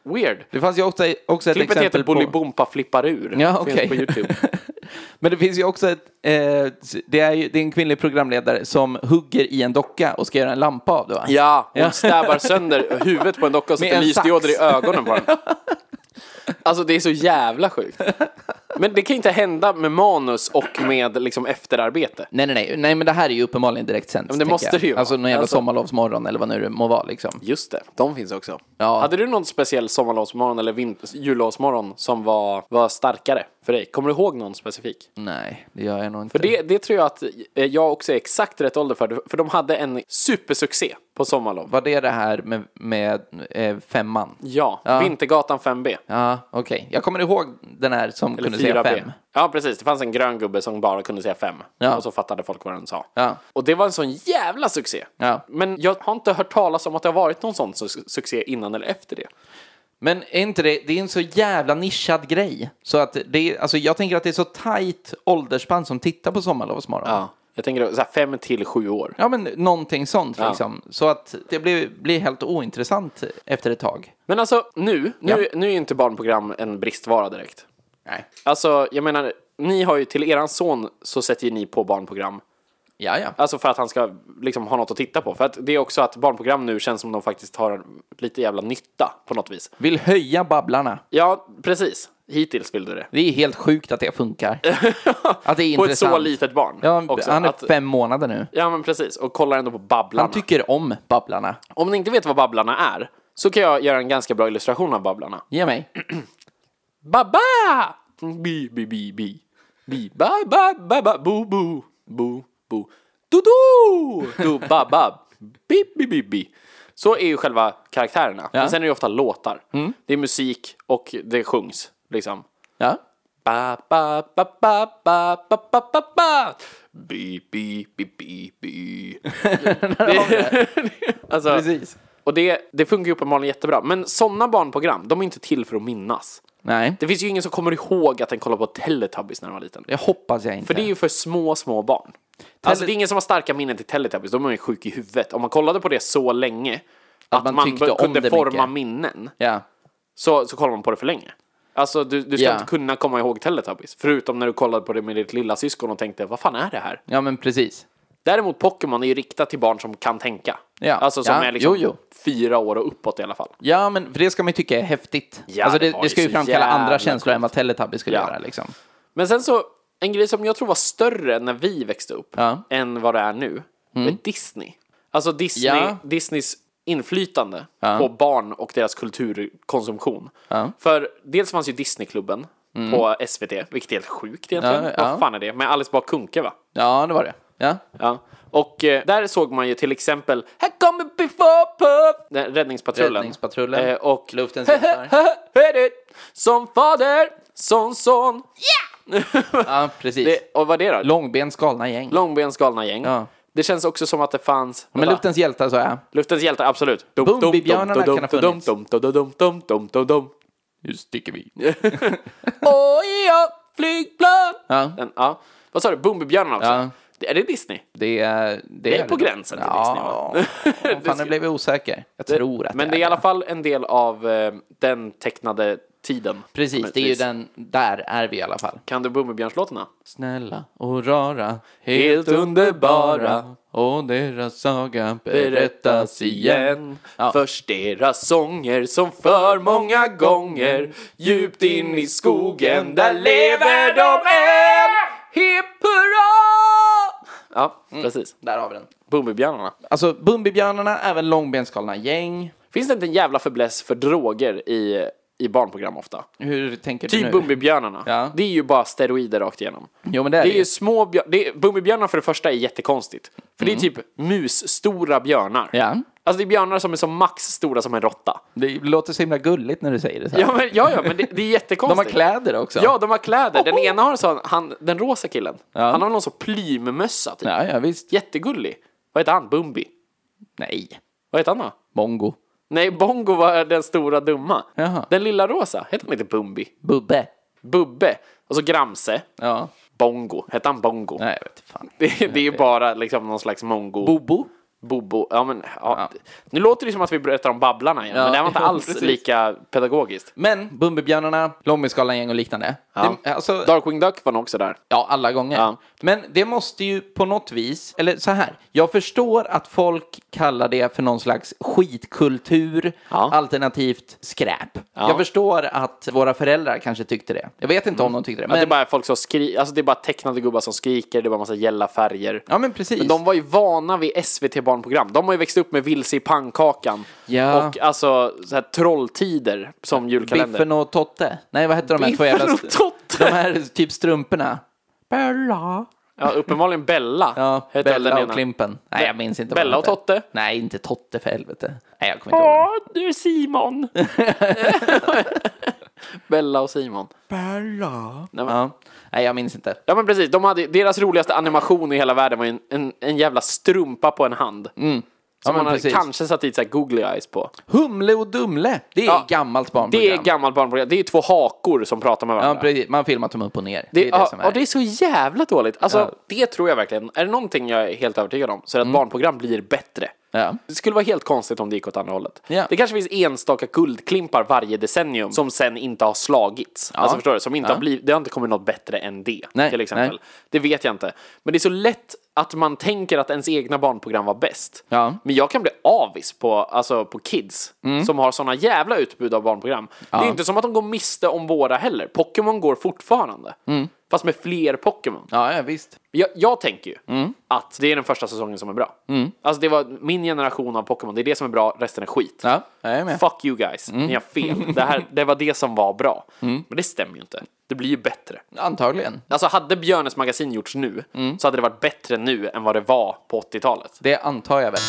A: weird.
B: Det fanns ju också, också ett
A: Klippet heter
B: exempel på...
A: Bolibompa flippar ur.
B: Ja,
A: Finns
B: okej.
A: på YouTube.
B: Men det finns ju också ett... Eh, det, är ju, det är en kvinnlig programledare som hugger i en docka och ska göra en lampa av det, va?
A: Ja, hon stäbar sönder huvudet på en docka och
B: Med
A: sätter
B: en
A: lysdioder i
B: sax.
A: ögonen på den. Alltså det är så jävla sjukt. Men det kan ju inte hända med manus och med liksom efterarbete.
B: Nej, nej, nej, nej, men det här är ju uppenbarligen direkt sänt.
A: men det måste det ju vara.
B: Alltså någon jävla
A: Alltså-
B: sommarlovsmorgon eller vad nu det må vara liksom.
A: Just det, de finns också.
B: Ja.
A: Hade du någon speciell sommarlovsmorgon eller vinter- jullovsmorgon som var, var starkare för dig? Kommer du ihåg någon specifik?
B: Mm. Nej, det gör jag nog inte.
A: För det, det tror jag att eh, jag också är exakt rätt ålder för. För de hade en supersuccé på sommarlov.
B: Var det det här med, med eh, femman?
A: Ja,
B: Ja.
A: Vintergatan 5B.
B: Ja, okej. Jag kommer ihåg den här som kunde säga
A: 4B.
B: fem.
A: Ja, precis. Det fanns en grön gubbe som bara kunde säga fem.
B: Ja.
A: Och så fattade folk vad den sa.
B: Ja.
A: Och det var en sån jävla succé.
B: Ja.
A: Men jag har inte hört talas om att det har varit någon sån su- succé innan eller efter det.
B: Men är inte det, det är en så jävla nischad grej. Så att det är, alltså jag tänker att det är så tajt åldersspann som tittar på Sommarlovsmorgon.
A: Jag tänker så här fem till sju år.
B: Ja, men någonting sånt liksom. Så att det blir, blir helt ointressant efter ett tag.
A: Men alltså nu, nu, nu är ju inte barnprogram en bristvara direkt.
B: Nej.
A: Alltså, jag menar, ni har ju till eran son så sätter ju ni på barnprogram.
B: Ja, ja.
A: Alltså för att han ska liksom ha något att titta på. För att det är också att barnprogram nu känns som de faktiskt har lite jävla nytta på något vis.
B: Vill höja Babblarna.
A: Ja, precis. Hittills vill du det.
B: Det är helt sjukt att det funkar. att det är
A: På ett
B: intressant.
A: så litet barn.
B: Ja,
A: också.
B: han är
A: Att-
B: fem månader nu.
A: Ja men precis, och kollar ändå på Babblarna.
B: Han tycker om Babblarna.
A: Om ni inte vet vad Babblarna är, så kan jag göra en ganska bra illustration av Babblarna.
B: Ge mig.
A: Babba! Bi, bi, bi, bi. Bi, ba, ba, ba, ba, bo, bo, bo, bo. Du, du, du, ba, ba. Bi, bi, bi, bi. Så är ju själva karaktärerna. Men sen är det ju ofta låtar. Det är musik och det sjungs, liksom.
B: Ja.
A: Ba, ba, ba, ba, ba, ba, ba, ba, ba. Bi, bi, bi, bi, bi. Det- alltså,
B: Precis.
A: Och det, det funkar ju uppenbarligen jättebra. Men sådana barnprogram, de är inte till för att minnas.
B: Nej,
A: Det finns ju ingen som kommer ihåg att den kollade på Teletubbies när den var liten.
B: det hoppas jag inte.
A: För det är ju för små, små barn. Alltså det är ingen som har starka minnen till Teletubbies, de är ju sjuk i huvudet. Om man kollade på det så länge att,
B: man
A: man,
B: tyckte om
A: kunde
B: det
A: forma
B: mycket.
A: minnen,
B: Ja.
A: så, så kollar man på det för länge. Alltså du, du ska
B: Ja.
A: inte kunna komma ihåg Teletubbies, förutom när du kollade på det med ditt lilla syskon och tänkte vad fan är det här?
B: ja, men precis.
A: Däremot Pokémon är ju riktat till barn som kan tänka.
B: Ja.
A: Alltså som
B: Ja,
A: är liksom
B: jo, jo.
A: fyra år och uppåt i alla fall.
B: Ja, men för det ska man ju tycka är häftigt.
A: Ja,
B: alltså
A: det
B: det,
A: var
B: det
A: ju
B: ska ju
A: så
B: framkalla
A: jävla
B: andra känslor än vad Teletubbies skulle
A: Ja.
B: göra. Liksom.
A: Men sen så, en grej som jag tror var större när vi växte upp
B: Ja. Mm.
A: än vad det är nu, med Disney. Alltså Disney,
B: Ja.
A: Disneys inflytande på barn och deras kulturkonsumtion.
B: Ja. Mm.
A: För dels fanns ju Disneyklubben på SVT, vilket är helt sjukt egentligen.
B: Ja,
A: Vad
B: ja.
A: fan är det? Med Alice Bah Kuhnke va?
B: Ja, det var det. Ja.
A: Ja. Och eh, där såg man ju till exempel Här kommer Before Pup! Den- Räddningspatrullen.
B: Räddningspatrullen.
A: Eh, och
B: Luftens hjältar.
A: Hör det! Som fader, som son.
B: Ja, precis.
A: Det, och vad är det då?
B: Långbens galna gäng.
A: Långbens galna gäng.
B: Ja.
A: Det känns också som att det fanns...
B: men
A: vänta.
B: Luftens hjältar sa jag.
A: Luftens hjältar, absolut.
B: Bumbibjörnarna kan ha funnits.
C: Nu sticker vi.
A: Oj, ja, flygplan!
B: Ja.
A: Den, ja. Vad sa du? Bumbibjörnarna också?
B: Ja.
A: Det- Är det Disney?
B: Det, är-
A: Det är på gränsen till
B: ja. Disney, va? fan, nu blev jag osäker. Jag tror att
A: Men det
B: det
A: är i alla fall en del av eh, den tecknade tiden.
B: Precis, det är ju
A: Möjligtvis.
B: den, där är vi i alla fall.
A: Kan du Bumbibjörnslåtarna?
B: Snälla och rara,
A: Helt underbara.
B: och deras saga
A: berättas igen Först deras sånger som för många gånger Djupt in i skogen, där lever de än Hipp hurra! Ja,
B: Mm.
A: precis.
B: Där har vi den.
A: Bumbibjörnarna.
B: Alltså Bumbibjörnarna, även Långbensgalna gäng.
A: Finns det inte en jävla fäbless för droger i i barnprogram ofta.
B: Hur tänker du
A: Typ
B: nu?
A: Bumbibjörnarna.
B: Ja.
A: Det är ju bara steroider rakt igenom.
B: Jo, men det är
A: det är
B: det ju.
A: ju små björnar. det är- Bumbibjörnar för det första är jättekonstigt. För det är typ musstora björnar.
B: Mm. Ja.
A: Alltså det är björnar som är som max stora som en råtta.
B: Det låter så himla gulligt när du säger det så här.
A: Ja, men, ja, ja, men det, det är
B: De
A: jättekonstigt.
B: har kläder också.
A: Ja, de har kläder. Den ena har en sån, han, den rosa killen,
B: Ja.
A: han har någon sån plymmössa typ.
B: ja, ja visst.
A: Jättegullig. Vad heter han? Bumbi?
B: Nej.
A: Vad heter han då?
B: Mongo.
A: Nej, Bongo var den stora dumma.
B: Jaha.
A: Den lilla rosa, hette han inte Bumbi?
B: Bubbe.
A: Bubbe. Och så Gramse.
B: Ja.
A: Bongo. Hette han Bongo?
B: Nej, jag vet inte fan.
A: Det, är- det är ju bara liksom någon slags mongo.
B: Bobo.
A: Bobo. Ja, men, ja. Nu låter det som att vi berättar om Babblarna igen, men det här var inte
B: jo,
A: alls
B: precis.
A: lika pedagogiskt.
B: Men Bumbibjörnarna, Långbenskalan-gäng och liknande.
A: Ja.
B: Det, alltså,
A: Darkwing Duck var nog också där.
B: Ja, alla gånger.
A: Ja.
B: Men det måste ju på något vis, eller så här, jag förstår att folk kallar det för någon slags skitkultur,
A: Ja.
B: alternativt skräp. Jag förstår att våra föräldrar kanske tyckte det. Jag vet inte om de tyckte det.
A: Att
B: Men,
A: Mm. det bara är folk som skriker, alltså det är bara tecknade gubbar som skriker, det är bara massa gälla färger.
B: ja, men precis.
A: Men de var ju vana vid SVT barnprogram. De har ju växt upp med Vilse i pannkakan.
B: Ja.
A: Och alltså så här, trolltider som julkalender.
B: Biffen och Totte. Nej, vad hette de här två jävla...
A: Biffen och Totte!
B: De här typ strumporna. Bella.
A: Ja, uppenbarligen Bella.
B: Ja,
A: hette väl
B: Bella
A: den
B: och
A: ena.
B: Klimpen. Nej, jag minns inte. vad
A: Bella
B: de
A: och
B: hette.
A: Totte.
B: Nej, inte Totte för helvete. Nej, jag kommer inte ihåg.
A: Ja, du är Simon. Bella och Simon.
B: Nej, men... ja. Nej, jag minns inte.
A: Ja men precis, de hade, deras roligaste animation i hela världen var ju en, en, en jävla strumpa på en hand.
B: Mm. Ja,
A: Som
B: men
A: man hade
B: precis.
A: kanske satt dit så här googly eyes på.
B: Humle och Dumle, det är
A: Ja,
B: gammalt barnprogram.
A: Det är gammalt barnprogram, det är två hakor som pratar med
B: Ja,
A: varandra.
B: precis. Man filmar tum upp och ner.
A: Det,
B: Det, är det som är.
A: Ja, det är så jävla dåligt. Alltså, det tror jag verkligen. Är det någonting jag är helt övertygad om så är det att barnprogram blir bättre.
B: Mm. Ja.
A: Det skulle vara helt konstigt om det gick åt andra hållet.
B: Ja.
A: Det kanske finns enstaka guldklimpar varje decennium som sen inte har slagits. Alltså förstår du? Som inte har blivit, det har inte kommit något bättre än det.
B: Nej,
A: Till exempel.
B: nej.
A: Det vet jag inte. Men det är så lätt att man tänker att ens egna barnprogram var bäst.
B: Ja. Mm.
A: Men jag kan bli avis på, alltså, på kids som har såna jävla utbud av barnprogram. Det är inte som att de går miste om våra heller. Pokémon går fortfarande.
B: Mm.
A: Fast med fler Pokémon.
B: ja, ja, visst.
A: Jag, jag tänker ju
B: Mm.
A: att det är den första säsongen som är bra. Alltså det var min generation av Pokémon, det är det som är bra, resten är skit.
B: Ja, jag är med. Mm.
A: Fuck you guys, ni har fel. Det, här, det var det som var bra. Men det stämmer ju inte. Det blir ju bättre.
B: Antagligen.
A: Alltså hade Björnes magasin gjorts nu
B: Mm.
A: så hade det varit bättre nu än vad det var på 80-talet.
B: Det antar jag väl.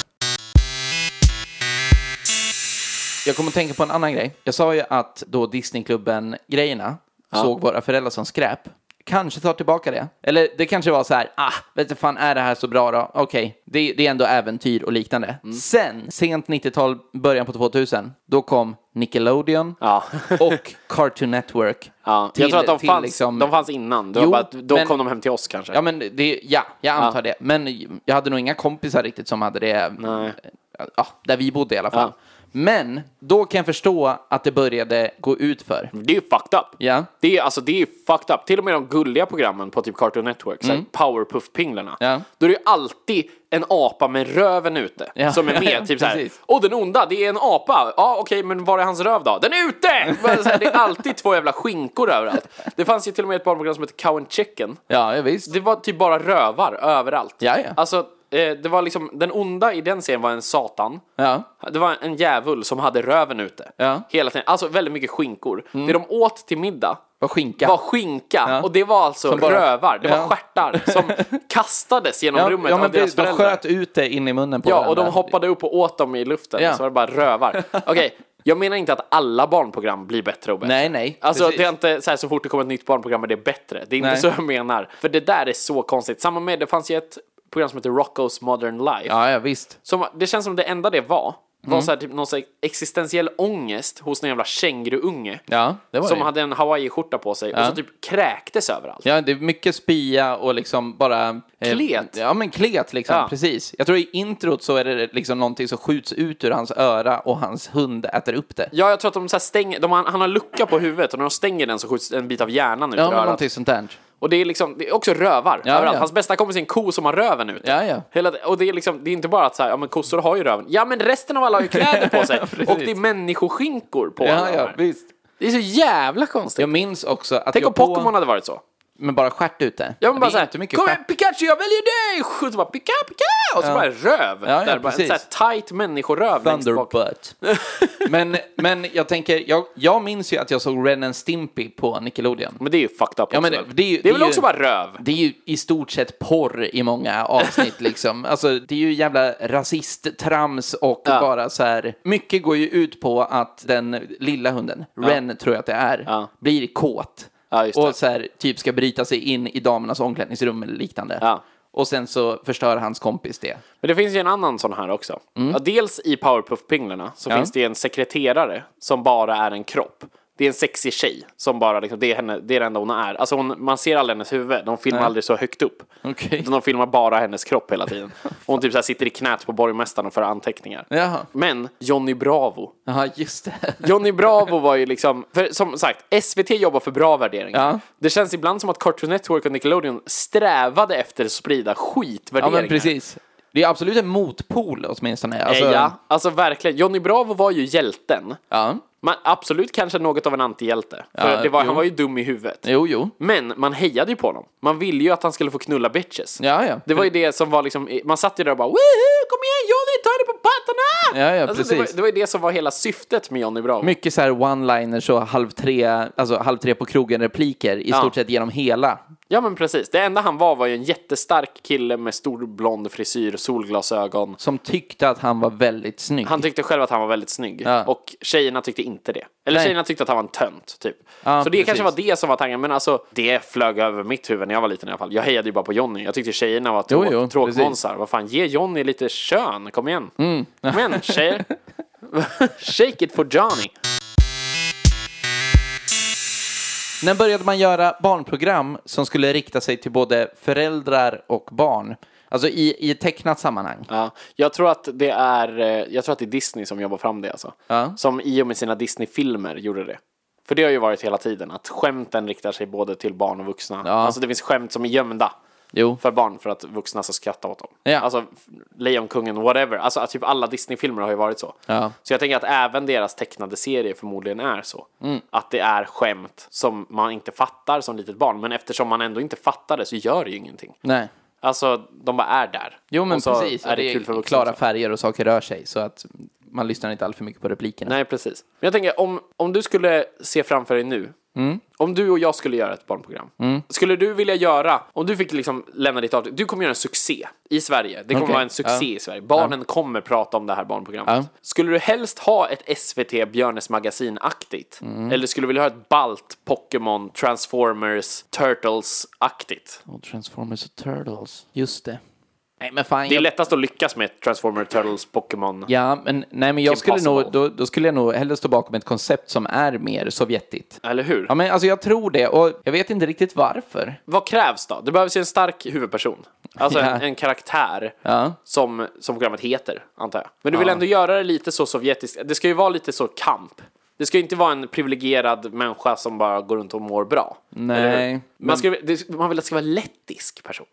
B: Jag kommer att tänka på en annan grej. Jag sa ju att då Disneyklubben-grejerna såg våra föräldrar som skräp. Kanske tar tillbaka det. Eller det kanske var så här, ah, vet du fan, är det här så bra då? Okej, det, det är ändå äventyr och liknande.
A: Mm.
B: Sen, sent 90-tal, början på 2000, då kom Nickelodeon
A: Ja.
B: och Cartoon Network.
A: Ja.
B: till-
A: jag tror att de
B: till
A: fanns,
B: liksom-
A: de fanns innan, det var
B: Jo,
A: bara att då
B: men-
A: kom de hem till oss kanske.
B: Ja, men det, ja, jag antar det. Men jag hade nog inga kompisar riktigt som hade det eh, ja, där vi bodde i alla fall. Men då kan jag förstå att det började gå ut för.
A: Det är ju fucked up.
B: Ja.
A: Det är, alltså, det är ju fucked up. Till och med de gulliga programmen på typ Cartoon Network, mm. Powerpuff-pinglarna.
B: Ja.
A: Då är det ju alltid en apa med röven ute
B: Ja.
A: som är med.
B: Ja, ja,
A: typ så här,
B: precis.
A: åh den onda, det är en apa. Ja okej, men var är hans röv då? Den är ute! Bara Så här, det är alltid två jävla skinkor överallt. Det fanns ju till och med ett barnprogram som hette Cow and Chicken.
B: Ja, ja visst.
A: Det var typ bara rövar överallt.
B: Ja, ja.
A: Alltså, eh, det var liksom, den onda i den serien var en satan.
B: Ja.
A: Det var en djävul som hade röven ute.
B: Ja. Mm.
A: Hela tiden. Alltså väldigt mycket skinkor. Det de åt till middag
B: Var skinka.
A: var skinka.
B: Ja.
A: Och det var alltså
B: Som bara-
A: rövar. Det
B: Ja.
A: var stjärtar som kastades genom
B: ja,
A: rummet
B: ja,
A: av
B: men
A: deras
B: precis, de
A: föräldrar.
B: sköt ut det in i munnen på
A: Ja,
B: varandra.
A: och de hoppade upp och åt dem i luften.
B: Ja.
A: Så var det bara rövar. Okej, jag menar inte att alla barnprogram blir bättre och bättre.
B: Nej, nej,
A: Alltså,
B: precis.
A: det är inte så här så fort det kommer ett nytt barnprogram är det bättre. Det är inte
B: Nej.
A: så jag menar. För det där är så konstigt. Samma med, det fanns ju ett program som heter Rocco's Modern Life.
B: Ja, ja visst.
A: Som, det känns som det enda det var,
B: Mm.
A: var så här, typ någon så här existentiell ångest hos någon jävla känguruunge.
B: Ja, det var
A: Som
B: det.
A: hade en hawaiiskjorta på sig och så typ kräktes överallt.
B: Ja, det är mycket spya och liksom bara... eh,
A: Klet.
B: Ja, men klet liksom,
A: Ja.
B: precis. Jag tror i introt så är det liksom någonting som skjuts ut ur hans öra och hans hund äter upp det.
A: Ja, jag tror att de så här stänger, de, har- han har lucka på huvudet och när de stänger den så skjuts en bit av hjärnan ut
B: Ja,
A: ur
B: men
A: örat.
B: någonting sånt där.
A: Och det är liksom, det är också rövar
B: Ja,
A: överallt.
B: ja.
A: Hans bästa kompis är en ko som har röven ute.
B: Ja, ja.
A: Hela, och det är liksom, det är inte bara att så här, ja men kossor har ju röven. Ja men resten av alla har ju kläder på sig.
B: precis.
A: och det är människoskinkor på alla
B: Ja,
A: de
B: ja,
A: här.
B: visst.
A: Det är så jävla konstigt.
B: Jag minns också att
A: Tänk
B: jag
A: om Pokémon hade varit så.
B: Men bara stjärt ute.
A: Jag var bara
B: det är
A: såhär,
B: inte mycket
A: kom igen
B: stjärt.
A: Pikachu, jag väljer dig! Och så bara, pika, pika! Och så bara röv.
B: ja,
A: där, bara en
B: precis.
A: sån här tight människoröv längst bak.
B: Thunderbutt. men, men jag tänker, jag, jag minns ju att jag såg Ren and Stimpy på Nickelodeon.
A: Men det är ju fucked up
B: Ja,
A: också,
B: men
A: väl?
B: det är ju-
A: det är väl
B: det är
A: också
B: ju-
A: bara röv?
B: Det är ju i stort sett porr i många avsnitt liksom. Alltså det är ju jävla rasisttrams och
A: Ja.
B: bara så här. Mycket går ju ut på att den lilla hunden, Ren tror jag att det är,
A: Ja.
B: blir kåt.
A: Ja, just det.
B: och så här, typ ska bryta sig in i damernas omklädningsrum eller liknande.
A: Ja.
B: Och sen så förstör hans kompis det.
A: Men det finns ju en annan sån här också.
B: Mm.
A: Ja, dels i Powerpuff-pinglarna så finns det ju en sekreterare som bara är en kropp. Det är en sexig tjej som bara, liksom, det, är henne, det är det enda hon är. Alltså hon, man ser aldrig hennes huvud, de filmar aldrig så högt upp.
B: Okej.
A: Utan de filmar bara hennes kropp hela tiden. Och hon typ så här sitter i knät på borgmästaren och för anteckningar.
B: Jaha.
A: Men Johnny Bravo
B: Ja, just det.
A: Johnny Bravo var ju liksom, för som sagt, SVT jobbar för bra värderingar.
B: Ja.
A: Det känns ibland som att Cartoon Network och Nickelodeon strävade efter att sprida
B: Ja,
A: skitvärderingar.
B: men precis. Det är absolut en motpol åtminstone. Alltså,
A: Alltså, ja, alltså verkligen. Johnny Bravo var ju hjälten.
B: ja.
A: Man, absolut kanske något av en antihjälte. För
B: Ja,
A: det var, han
B: jo.
A: var ju dum i huvudet.
B: Jo, jo.
A: Men man hejade ju på honom. Man ville ju att han skulle få knulla bitches.
B: Ja, ja.
A: Det var ju det som var liksom, man satt ju där och bara Woohoo, kom igen Johnny, ta dig på pattarna!
B: Ja, ja,
A: alltså, det, var,
B: precis.
A: det var ju det som var hela syftet med Johnny Bravo.
B: Mycket så här one-liners och halv tre, alltså halv tre på krogen-repliker i stort sett genom hela.
A: Ja men precis, det enda han var var ju en jättestark kille med stor blond frisyr, solglasögon.
B: Som tyckte att han var väldigt snygg.
A: Han tyckte själv att han var väldigt snygg
B: Ja.
A: och tjejerna tyckte inte det. Eller
B: Nej.
A: tjejerna tyckte att han var en tönt typ.
B: Ja,
A: så det kanske var
B: precis.
A: det som var tanken, men alltså det flög över mitt huvud när jag var liten i alla fall. Jag hejade ju bara på Johnny, jag tyckte tjejerna var
B: Jo,
A: tråk-
B: jo,
A: tråkmånsar. Vad fan, ge Johnny lite kön, kom igen.
B: Mm.
A: Kom igen tjejer. Shake it for Johnny.
B: När började man göra barnprogram som skulle rikta sig till både föräldrar och barn? Alltså i, i ett tecknat sammanhang.
A: Ja, jag tror att det är, eh, jag tror att det är Disney som jobbar fram det alltså.
B: Ja.
A: Som i och med sina Disney-filmer gjorde det. För det har ju varit hela tiden, att skämten riktar sig både till barn och vuxna. Alltså det finns skämt som är gömda
B: Jo.
A: för barn för att vuxna ska skratta åt dem.
B: Ja.
A: Alltså f- Lejonkungen, whatever. Alltså att typ alla Disney-filmer har ju varit så.
B: Ja.
A: Så jag tänker att även deras tecknade serie förmodligen är så.
B: Mm.
A: Att det är skämt som man inte fattar som litet barn. Men eftersom man ändå inte fattar det så gör det ju ingenting.
B: Nej.
A: Alltså, de bara är där.
B: Jo, men
A: Och så
B: precis.
A: Är det, kul för vuxna
B: klara
A: också.
B: färger och saker rör sig så att man lyssnar inte alltför mycket på replikerna.
A: Nej, precis. Men jag tänker, om, om du skulle se framför dig nu,
B: Mm.
A: om du och jag skulle göra ett barnprogram, skulle du vilja göra, om du fick liksom lämna ditt avtryck, du kommer göra en succé i Sverige, det kommer
B: Okej.
A: vara en succé i Sverige, barnen kommer prata om det här barnprogrammet.
B: Ja.
A: Skulle du helst ha ett SVT Björnes magasin-aktigt?
B: Mm.
A: Eller skulle du vilja ha ett balt Pokémon, Transformers, Turtles-aktigt?
B: Och Transformers och Turtles. Just det. Nej, men fan.
A: Det är
B: jag-
A: lättast att lyckas med Transformers, Turtles, Pokémon.
B: Ja, men, nej, men jag skulle nog, då,
A: Impossible.
B: då skulle jag nog hellre stå bakom ett koncept som är mer sovjetigt.
A: Eller hur?
B: Ja, men alltså jag tror det och jag vet inte riktigt varför.
A: Vad krävs då? Det behövs ju en stark huvudperson. Alltså
B: Ja.
A: en, en karaktär
B: Ja.
A: som, som programmet heter, antar jag. Men du vill ändå göra det lite så sovjetiskt. Det ska ju vara lite så kamp. Det ska ju inte vara en privilegierad människa som bara går runt och mår bra.
B: Nej,
A: Eller hur?
B: men-
A: Man, ska, det, man vill att det ska vara en lettisk person.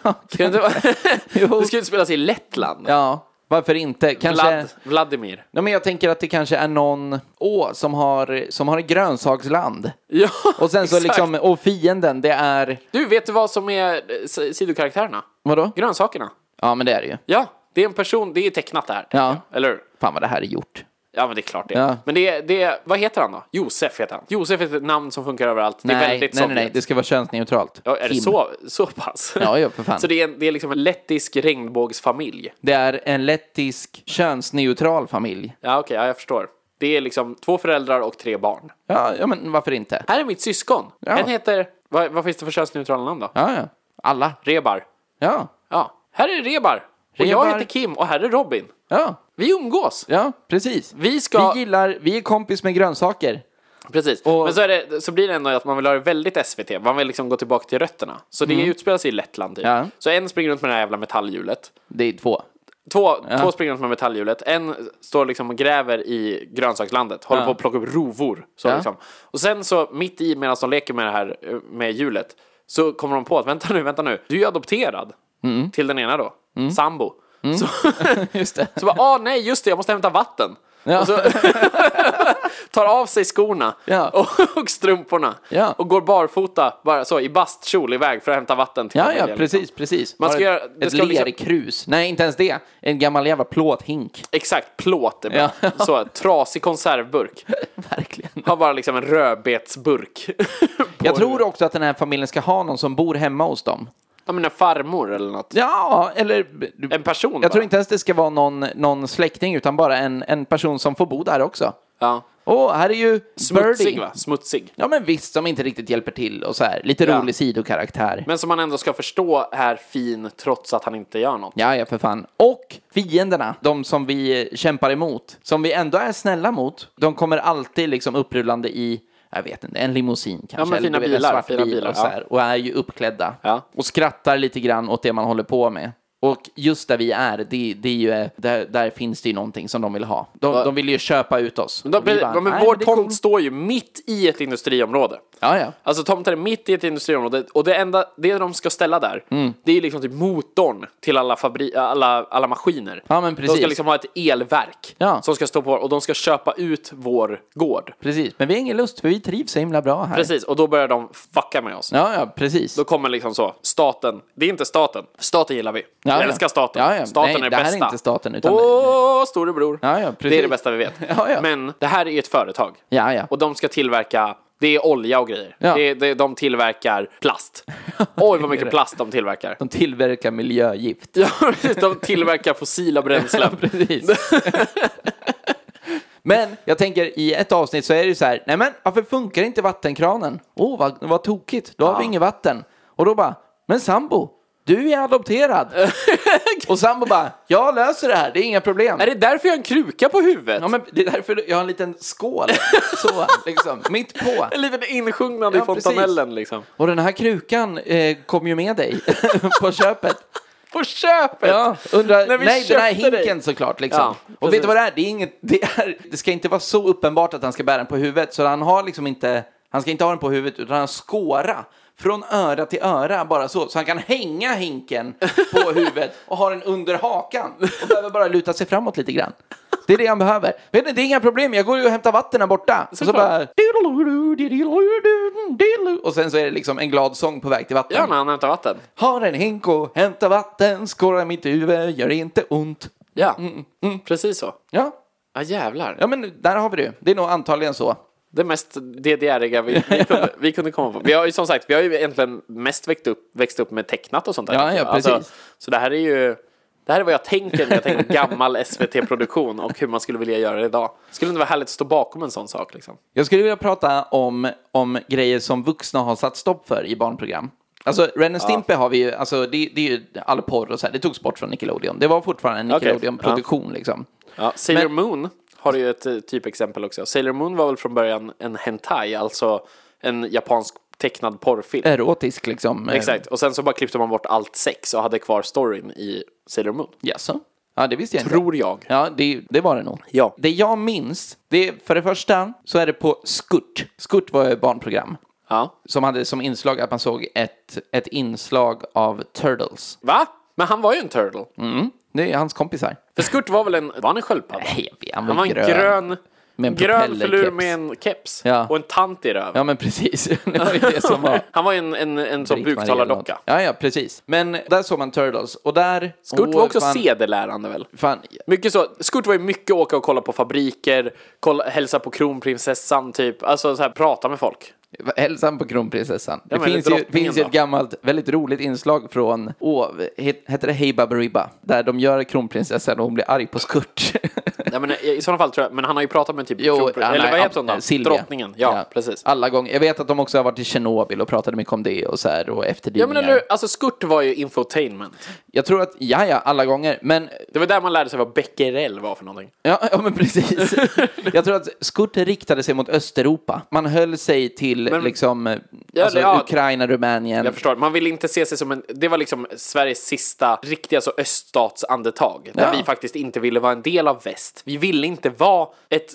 A: Ska det, inte vara-
B: Jo.
A: det ska ju spelas i Lettland.
B: Ja, varför inte? Kanske...
A: Vlad, Vladimir.
B: Nej, men jag tänker att det kanske är någon å som har, som har ett grönsaksland.
A: Ja,
B: Och sen så
A: exakt.
B: liksom, och fienden, det är...
A: Du, vet du vad som är eh, si- sidokaraktärerna?
B: Vadå?
A: Grönsakerna.
B: Ja, men det är det ju.
A: Ja, det är en person, det är tecknat det här. tänker
B: Ja.
A: jag. Eller hur?
B: Fan vad det här är gjort.
A: Ja men det är klart det.
B: Ja.
A: Men det, det, vad heter han då? Josef heter han. Josef är ett namn som funkar överallt. Det är
B: nej, nej,
A: väldigt
B: nej,
A: Sovjet.
B: nej, det ska vara könsneutralt.
A: ja, är det
B: Kim.
A: så, så pass?
B: Ja, ja, för fan.
A: Så det är, en- det är liksom en lettisk regnbågsfamilj.
B: Det är en lettisk könsneutral familj.
A: Ja okej, ja, jag förstår. Det är liksom två föräldrar och tre barn.
B: Ja, ja men varför inte?
A: Här är mitt syskon.
B: Ja.
A: En heter, vad, vad finns det för könsneutrala namn då?
B: Ja, ja. Alla.
A: Rebar.
B: Ja,
A: Ja, här är Rebar. Och jag
B: Rebar.
A: heter Kim och här är Robin.
B: ja,
A: Vi umgås.
B: ja, precis.
A: Vi ska...
B: Vi gillar, vi är kompis med grönsaker.
A: Precis,
B: Och-
A: men så, är det, så blir det ändå att man vill ha det väldigt SVT, man vill liksom gå tillbaka till rötterna. Så det utspelar sig i Lettland typ.
B: Mm. Ja.
A: Så en springer runt med det här jävla metallhjulet.
B: Det är två.
A: Två, två springer runt med metallhjulet, en står liksom och gräver i grönsakslandet, håller på att plocka upp rovor. Så
B: Ja.
A: liksom. Och sen så mitt i medan de leker med det här eh, med hjulet så kommer de på att vänta nu, vänta nu, du är ju adopterad
B: Mm.
A: till den ena då, sambo. Så,
B: Just det.
A: så bara, ah nej just det, jag måste hämta vatten. Och så, tar av sig skorna
B: Ja.
A: och, och strumporna
B: Ja.
A: och går barfota, bara så, i bastkjol iväg för att hämta vatten till
B: Ja,
A: familjen,
B: ja,
A: liksom.
B: precis, precis.
A: Man
B: Har
A: ska göra-
B: ett
A: det
B: ett
A: ska liksom-
B: lerkrus. Nej, inte ens det. En gammal jävla plåthink.
A: Exakt, plåt är bra.
B: Ja.
A: Så, trasig konservburk.
B: Verkligen.
A: Har bara liksom en rödbetsburk. På
B: Jag tror
A: huvudet.
B: också att den här familjen ska ha någon som bor hemma hos dem.
A: Ja men en farmor eller något.
B: Ja, eller...
A: En person bara.
B: Jag tror inte ens det ska vara någon, någon släkting, utan bara en, en person som får bo där också.
A: Ja.
B: Åh, här är ju
A: Smutsig
B: Birdie.
A: va? Smutsig.
B: Ja, men visst, som inte riktigt hjälper till och så här. Lite
A: Ja.
B: rolig sidokaraktär.
A: Men som man ändå ska förstå är fin trots att han inte gör något.
B: Ja, ja, för fan. Och fienderna, de som vi eh, kämpar emot, som vi ändå är snälla mot, de kommer alltid liksom upprullande i, jag vet inte, en limousin kanske.
A: men
B: eller
A: fina
B: du vet, en
A: bilar,
B: svart
A: fina
B: bil
A: bilar,
B: och, så här, och är ju uppklädda.
A: Ja.
B: Och skrattar lite grann åt det man håller på med. Och just där vi är, det, det är ju, eh, där, där finns det ju någonting som de vill ha. De, de vill ju köpa ut oss.
A: Men, då,
B: Och vi
A: blir-
B: bara,
A: ja, men
B: "Nej,
A: vår
B: det är
A: tomt
B: coolt."
A: står ju mitt i ett industriområde.
B: Ja, ja.
A: Alltså tomten är mitt i ett industriområde och det enda det de ska ställa där,
B: Mm.
A: det är ju liksom typ motorn till alla, fabri- alla, alla maskiner.
B: Ja, men
A: De ska
B: precis.
A: liksom ha ett elverk
B: Ja.
A: som ska stå på och de ska köpa ut vår gård.
B: Precis, men vi har ingen lust för vi trivs så himla bra här.
A: Precis, och då börjar de fucka med oss.
B: Ja, ja, precis.
A: Då kommer liksom så, staten, det är inte staten, staten gillar vi.
B: Ja,
A: vi
B: ja.
A: älskar staten,
B: Ja, ja.
A: staten
B: Nej,
A: är det
B: det här är
A: bästa.
B: inte staten, utan-
A: Åh, storebror.
B: Ja, ja,
A: det är det
B: precis.
A: bästa vi vet.
B: Ja, ja.
A: Men det här är ju ett företag.
B: Ja, ja.
A: Och de ska tillverka, det är olja och grejer.
B: Ja.
A: Det, det, de tillverkar plast. Oj vad mycket plast de tillverkar.
B: De tillverkar miljögift.
A: Ja, precis, de tillverkar fossila bränslen.
B: Precis. Men jag tänker i ett avsnitt så är det ju så här, nej men varför funkar inte vattenkranen? Åh, oh, vad, vad tokigt, då har vi inget vatten. Och då bara, men sambo, du är adopterad. och sambo bara, jag löser det här, det är inga problem.
A: Är det därför jag har en kruka på huvudet?
B: Ja, men det är därför jag har en liten skål, så liksom, mitt på.
A: En liten insjungnad i
B: Ja, precis.
A: fontanellen liksom.
B: Och den här krukan eh, kom ju med dig på köpet.
A: På köpet!
B: Ja, undrar,
A: När vi
B: nej den här
A: köpte
B: hinken
A: dig.
B: såklart liksom.
A: Ja,
B: och
A: precis.
B: vet du vad det är? Det, är inget, det, är, det ska inte vara så uppenbart att han ska bära den på huvudet. Så han har liksom inte, han ska inte ha den på huvudet utan han skåra från öra till öra bara så. Så han kan hänga hinken på huvudet och ha den under hakan. Och behöver bara luta sig framåt lite grann. Det är det han behöver. Vet ni, det är inga problem, jag går ju och hämtar vatten här borta. Och, så bara... och sen så är det liksom en glad sång på väg till vatten.
A: Ja, när han hämtar vatten.
B: Har en hink och hämta vatten, skålar mitt huvud, gör inte ont.
A: Ja, Mm, precis så.
B: Ja,
A: Ja, jävlar.
B: ja men där har vi det. Det är nog antagligen så.
A: Det mest DDR-iga vi, vi, kunde, vi kunde komma på. Vi har ju som sagt, vi har ju egentligen mest växt upp, växt upp med tecknat och sånt där. Alltså,
B: Ja, ja, precis.
A: så det här är ju, det här är vad jag tänker när jag tänker gammal SVT-produktion och hur man skulle vilja göra det idag. Skulle det inte vara härligt att stå bakom en sån sak liksom?
B: Jag skulle vilja prata om, om grejer som vuxna har satt stopp för i barnprogram. Alltså Ren and Stimpy har vi ju, alltså det, det är ju all porr och så här, det togs bort från Nickelodeon. Det var fortfarande en
A: Okej,
B: Nickelodeon-produktion liksom.
A: Ja, Sailor
B: Men-
A: Moon har ju ett eh, typexempel också. Sailor Moon var väl från början en hentai, alltså en japansk tecknad porrfilm.
B: Erotisk liksom. eh,
A: Exakt, och sen så bara klippte man bort allt sex och hade kvar storyn i Sailor Moon.
B: Jaså? Ja, det visste jag inte.
A: Tror jag.
B: Ja, det, det var det nog.
A: Ja.
B: Det jag minns, det är, för det första så är det på Skurt. Skurt var ju ett barnprogram.
A: Ja.
B: som hade som inslag att man såg ett, ett inslag av Turtles.
A: Va? Men han var ju en turtle.
B: Det är hans kompisar.
A: För Skurt var väl en, var han en sköldpadda?
B: Nej, jag vet,
A: Han var en grön,
B: Med en
A: grön filur
B: propellerkeps.
A: med en keps
B: Ja.
A: och en tant i röven.
B: Ja, men precis. Det var ju det som var...
A: Han var ju en, en, en sån
B: Britt-Marie eller
A: buktalardocka.
B: något. Ja, ja, precis. Men där såg man Turtles och där...
A: Skurt var
B: Åh,
A: också
B: fan,
A: sedelärande väl?
B: Fan,
A: Mycket så, Skurt var ju mycket åka och kolla på fabriker, kolla, hälsa på kronprinsessan typ, alltså så här, prata med folk.
B: hälsan på kronprinsessan.
A: Ja,
B: Det
A: men
B: finns ju,
A: drottningen
B: finns ju ett
A: då.
B: gammalt, väldigt roligt inslag från... Åh, het, heter det Hey Babba Ribba? Där de gör kronprinsessan och hon blir arg på Skurt.
A: Nej, men, i i sådana fall tror jag, men han har ju pratat med typ kronprin-
B: Anna-
A: eller vad heter hon
B: eh,
A: då?
B: Silvia.
A: Drottningen, ja, precis.
B: Alla gånger. Jag vet att de också har varit i Tjernobyl och pratade mycket om det och så här och
A: Ja
B: efterdyningar.
A: men eller hur? alltså Skurt var ju infotainment.
B: Jag tror att, ja ja, alla gånger. Men,
A: Det var där man lärde sig vad becquerel var för någonting.
B: ja, ja men precis. jag tror att Skurt riktade sig mot Östeuropa. Man höll sig till liksom, eh,
A: Ja,
B: alltså,
A: det- ja.
B: Ukraina, Rumänien.
A: Jag förstår, man vill inte se sig som en, det var liksom Sveriges sista riktiga så öststatsandetag. Där
B: Ja.
A: vi faktiskt inte ville vara en del av väst. Vi ville inte vara ett